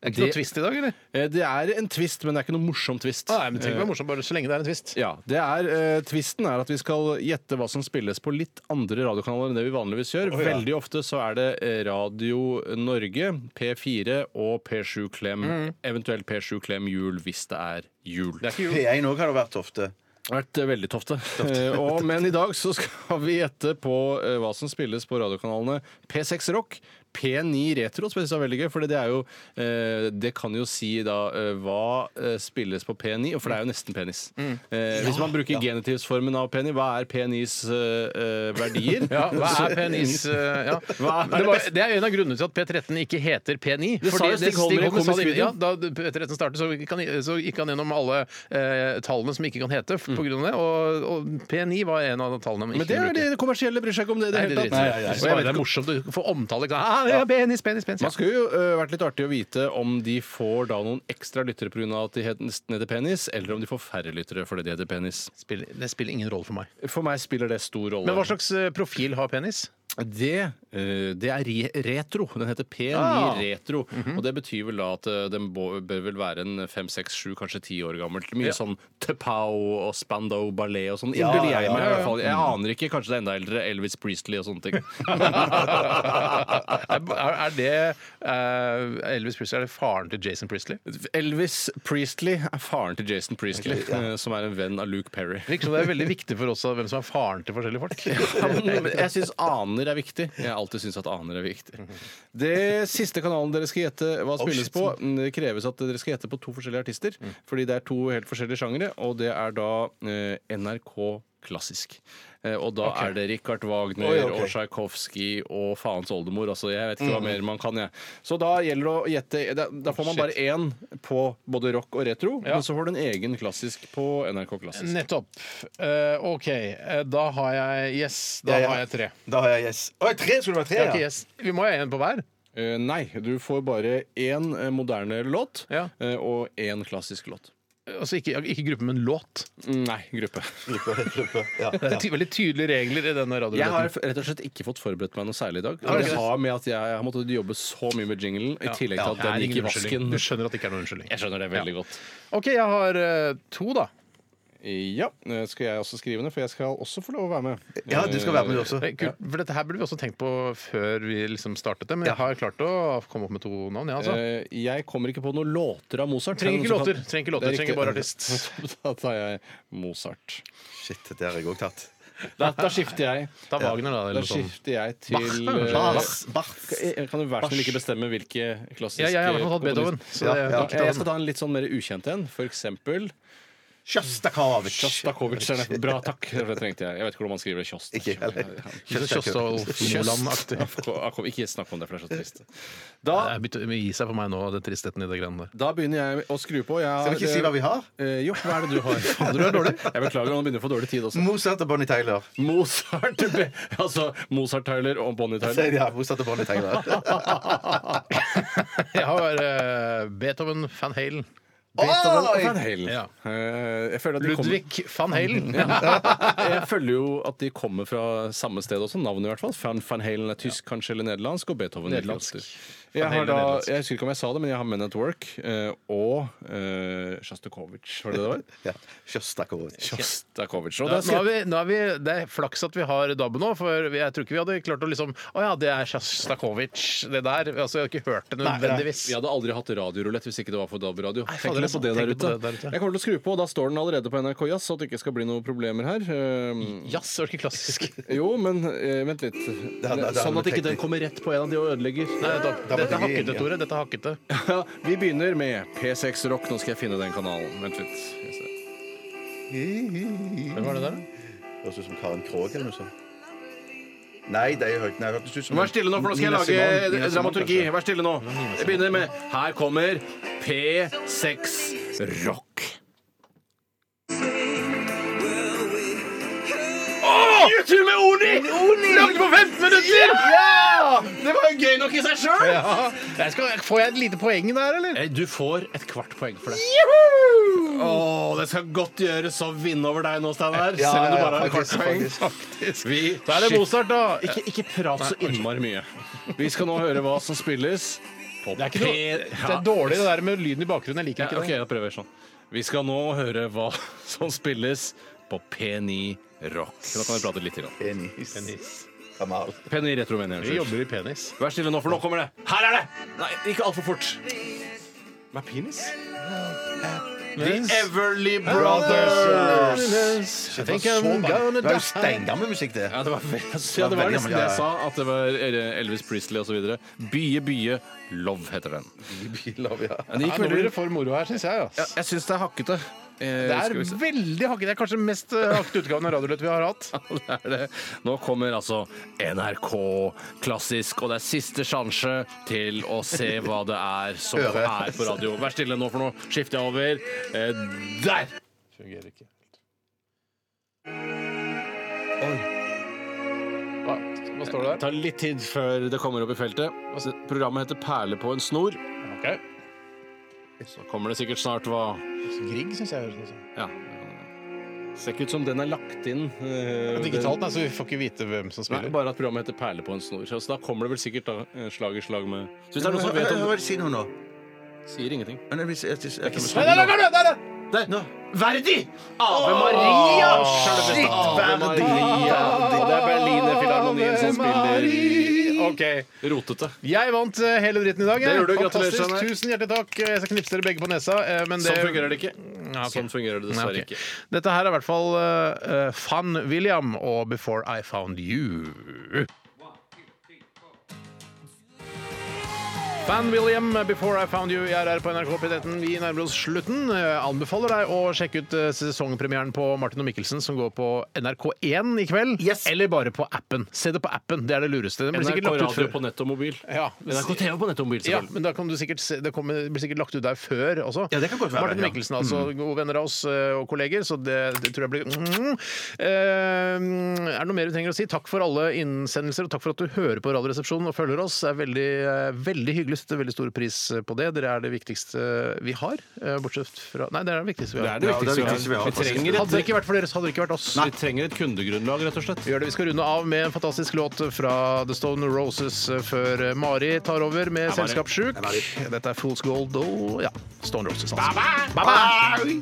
Det er ikke noe twist Ah, i dag, eller? Eh, Det er en twist, men det er ikke noe morsom twist. Nei, men tenk på morsomt, bare så lenge det er en twist. Ja, det er, eh, Tvisten er at vi skal gjette hva som spilles på litt andre radiokanaler enn det vi vanligvis gjør. Veldig ofte så er det eh, Radio Norge, P4 og P7 Klem. Eventuelt P7 Klem Jul hvis det er jul. Mhm. Det P1 òg har det vært ofte. har vært eh, veldig tofte. Eh, og, men i dag så skal vi gjette på eh, hva som spilles på radiokanalene P6 Rock. P9 Retro synes jeg er veldig gøy, for det er jo eh, Det kan jo si da eh, hva eh, spilles på P9, og for det er jo nesten penis. Mm. Eh, hvis man bruker genitivsformen av P9, hva er P9s eh, eh, verdier? Ja, hva er penis? eh, Ja. Hva er Men det, var, det er en av grunnene til at P13 ikke heter P9. Det sa Fordi jo Stig Holmer i sa Komisk det- video. Ja, da P13 startet, så gikk han, så gikk han gjennom alle eh, tallene som ikke kan hete på grunn av det, og, og P9 var en av de tallene man Mm. Men ikke det er bruker. det kommersielle bryr seg ikke om det i det Nei, hele det tatt. driter jeg i. Og Bare jeg vet Det er ikke om- morsomt å få omtale. ikke sant? Ah, ja, penis, penis, penis. ja. Man skulle jo øh, vært litt artig å vite om de får da noen ekstra lyttere pga. at de het- nesten heter penis, eller om de får færre lyttere fordi de heter penis. Spiller- Det spiller ingen rolle for meg. For meg spiller det stor rolle. Men hva slags eh, profil har penis? Det, eh, det er re retro. Den heter P9 Ah. Retro. Og det betyr vel da at eh, den bå- bør vel være en fem, seks, sju, kanskje ti år gammelt. Mye sånn Tepao og Spando Ballet og sånn. Innbiller jeg meg i hvert fall. Mm. Jeg aner ikke. Kanskje det er enda eldre. Elvis Priestley og sånne ting. Er, er det eh, Elvis Presley? Er det faren til Jason Priestley? Elvis Priestley er faren til Jason Priestley, eh, som er en venn av Luke Perry. Det virker som det er veldig viktig for oss av hvem som er faren til forskjellige folk. Men Jeg syns aner er viktig. Jeg har alltid syntes at aner er viktig. Det siste kanalen dere skal gjette hva Oh, spilles på, mm, det kreves at dere skal gjette på to forskjellige artister. Mm. Fordi det er to helt forskjellige sjangere, og det er da eh, NRK klassisk. Eh, og da er det Richard Wagner Oi, ok. Mm. og Tsjajkovskij og faens oldemor. Altså, jeg vet ikke hva mer man kan, jeg. Så da gjelder det å gjette Da, da får Oh, man bare én på både rock og retro, men så får du en egen klassisk på NRK klassisk. Nettopp. Eh, OK, eh, da har jeg Yes. Da Ja, ja. har jeg tre. Da har jeg yes. Å, tre skulle det Jeg være har tre, ikke ja? yes. Vi må ha én på hver. Eh, nei, du får bare én eh, moderne låt Ja. eh, og én klassisk låt. Mm, Altså ikke, ikke gruppe, men låt. Nei, gruppe. Gruppe, gruppe, ja. Det er ty veldig tydelige regler i denne Jeg har radioen. f- rett og slett ikke fått forberedt meg noe særlig i dag. Har du Det ikke? har med at jeg har måttet jobbe så mye med jinglen, i tillegg til at den gikk i vasken. Du skjønner at det ikke er noen unnskyldning. Jeg skjønner det veldig godt. OK, jeg har eh, to, da. Ja, eh, skal jeg også skrive ned, for jeg skal også få lov å være med. ja, du skal være med, du også. Eh, Kult, for dette her burde vi også tenkt på før vi liksom startet det, men jeg har klart å komme opp med to navn, jeg, altså. Eh, Jeg kommer ikke på noen låter av Mozart. Trenger Er det ikke noen som låter. kan- Trenger ikke låter, Det er trenger riktig. bare artist. Da tar jeg Mozart. Shit, det har jeg òg tatt. Da, da skifter jeg. Ta Wagner, da. Da Eller noe sånt. skifter jeg til Bach, eh, Bach. Kan kan du være så snill ikke bestemme hvilke Ja, klassiske jeg har i hvert fall tatt komponist- Beethoven. Så det, Ja, ja. Ja, jeg skal ta en litt sånn mer ukjent en. For eksempel Sjostakovitsj. Sjostakovitsj. er det. Bra, takk. Det trengte jeg. Jeg vet ikke hvordan man skriver Sjost. Ikke heller. Ikke så Kjostolf-Moland-aktig. Ak- Ikke snakk om det, for det er så trist. Da, Det er begynt å gi seg på meg nå, den tristheten i det greiene der. da begynner jeg å skru på. Jeg Skal vi ikke si hva vi har? Eh, jo, hva er det du har? Fader, du er dårlig. Jeg beklager, han begynner å få dårlig tid også. Mozart og Bonnie Tyler. Mozart, altså Mozart-Tyler og Bonnie Tyler. Ja, Mozart og Bonnie Tyler. Jeg har eh, Beethoven, Van Halen, Beethoven og Van Halen. Ja. Eh, jeg føler at de kommer- Ludvig van Halen. Jeg føler jo at de kommer fra samme sted også, navnet i hvert fall. Van, Van Halen er tysk, kanskje, eller nederlandsk, og Beethoven er Nederlandsk. russisk. Jeg, har Halen er da, nederlandsk. jeg husker ikke om jeg sa det, men jeg har Men at Work eh, og eh, Sjostakovitsj. Var det det det var? Ja. Sjostakovitsj. Sjostakovitsj. Og Ja, nå er da skal vi, nå er vi, det er flaks at vi har DAB nå, for jeg tror ikke vi hadde klart å liksom Å ja, det er Sjastakovitsj, det der. Altså, jeg har ikke hørt det nødvendigvis. vi hadde aldri hatt radiorulett hvis ikke det var for DAB-radio. Tenk fader, litt på det tenk der litt på ute. det der ute. Jeg kommer til å skru på, og da står den allerede på NRK Jazz, så det ikke skal bli noen problemer her. Eh, Jazz var ikke klassisk. jo, men eh, vent litt. da- da- Sånn at ikke den kommer rett på en av de og ødelegger. Nei, da, dette er hakkete, Tore. Dette er hakkete. Ja, vi begynner med P6 Rock. Nå skal jeg finne den kanalen. Vent litt. Skal jeg se. Hvem var det der? Høres ut som Karen Krogh eller noe sånt. Nei, det er høyt. Nei, hørtes ut som Vær stille nå, for nå skal jeg Nina lage Simone. Nina Simone, dramaturgi. kanskje. Vær stille nå. Jeg begynner med Her kommer P6 Rock. Åh! YouTube med Oni! Lagd på 15 minutter! Det var jo gøy nok i seg sjøl! Jeg skal, får jeg et lite poeng der, eller? Eh, Du får et kvart poeng for det. Åh, det skal godt gjøres å vinne over deg nå, Steinar. Ja, selv om du ja, bare har et kvart faktisk, poeng. faktisk. Vi Da er det Mozart, da. Ikke, ikke prat så innmari mye. Vi skal nå høre hva som spilles. På Det er, ikke noe, det er dårlig det der med lyden i bakgrunnen. Jeg liker Ja, ikke ok, det. da prøver jeg sånn. Vi skal nå høre hva som spilles på P9 Rock. Nå kan vi prate litt til. da. Penis. Kamal. P9 Retro, mener Vi jeg. unnskyld. jobber i penis. Vær stille nå, for nå kommer det. Her er det! Nei, ikke altfor fort. Hva er penis? The Everly Brothers. Det var så gammel- det var jo steingammel musikk, det. Ja, det var, ja, det var nesten det jeg sa, at det var Elvis Priestley osv. Bye, bye, love heter den. Bilov, ja. Men det Ja, nå gikk blir veldig det for moro her, syns jeg. Ass. Jeg syns det er hakkete. Eh, Det skal er vi se. veldig hakkete. Det er kanskje den mest eh, hakkete utgaven av Radioløt vi har hatt. Det er det. Nå kommer altså NRK klassisk, og det er siste sjanse til å se hva det er som Høre. er på radio. Vær stille nå, for nå skifter jeg over. Eh, der! Fungerer ikke helt. Hva står det Det tar litt tid før det kommer opp i feltet. Altså, Programmet heter 'Perle på en snor'. der? Så kommer det sikkert snart hva Grieg syns jeg høres ut som. Ja. Ser ikke ut som den er lagt inn. eh, Digitalt, nei, så vi får ikke vite hvem som Nei, spiller. bare at programmet heter 'Perle på en snor'. Så da kommer det vel sikkert da, eh, slag i slag med Så hvis det er noen som vet om Hva sier du nå? Sier ingenting. Men jeg vil si- jeg- jeg- jeg- Nei, nei, nei, nei, nei, nei. Der! Nå. Verdi! Ave Maria! Sjølveste Shit, Ave Verdi! Maria! Det er Berlinerfilharmonien som spiller OK. rotete. Jeg vant eh, hele dritten i dag. jeg. Det gjorde du. Gratulerer, Fantastisk. Steinar. Tusen hjertelig takk. Eh, Jeg skal knipse dere begge på nesa. eh, Men det, Sånn fungerer det ikke. Ja, ok. Sånn fungerer det Nei, dessverre ok. ikke. Dette her er i hvert fall eh, eh, Fan William og Before I Found You. Fan William, Before I Found You, jeg er her på NRK P13. Vi nærmer oss slutten. Jeg anbefaler deg å sjekke ut eh, sesongpremieren på Martin og Mikkelsen som går på NRK1 i kveld. Yes. Eller bare på appen. Se det på appen, det er det lureste. Den blir NRK sikkert lagt ut Radio før. på nett og mobil. Ja. NRK TV på nett og mobil, Ja, selvfølgelig. men da kan du sikkert se, det kommer, blir sikkert lagt ut der før også. Ja, det kan godt være, Martin ja. Mm. Mikkelsen, altså. Gode venner av oss eh, og kolleger, så det, det tror jeg blir mm. Eh, Er det noe mer du trenger å si? Takk for alle innsendelser, og takk for at du hører på Radioresepsjonen og følger oss. Det er veldig, eh, veldig hyggelig. Setter veldig stor pris eh, på det. Dere er det viktigste vi har. eh, Bortsett fra Nei, det er det viktigste vi Det har. er det Ja, det er viktigste det vi viktigste vi har. har, Vi trenger Hadde det et, ikke vært for dere, så hadde det ikke vært oss. vi trenger et kundegrunnlag, rett og slett. Vi gjør det. Vi skal runde av med en fantastisk låt fra The Stone Roses før Mari tar over med Selskapssjuk. Dette er Fools Gold og ja, Stone Roses. Altså. Bye -bye.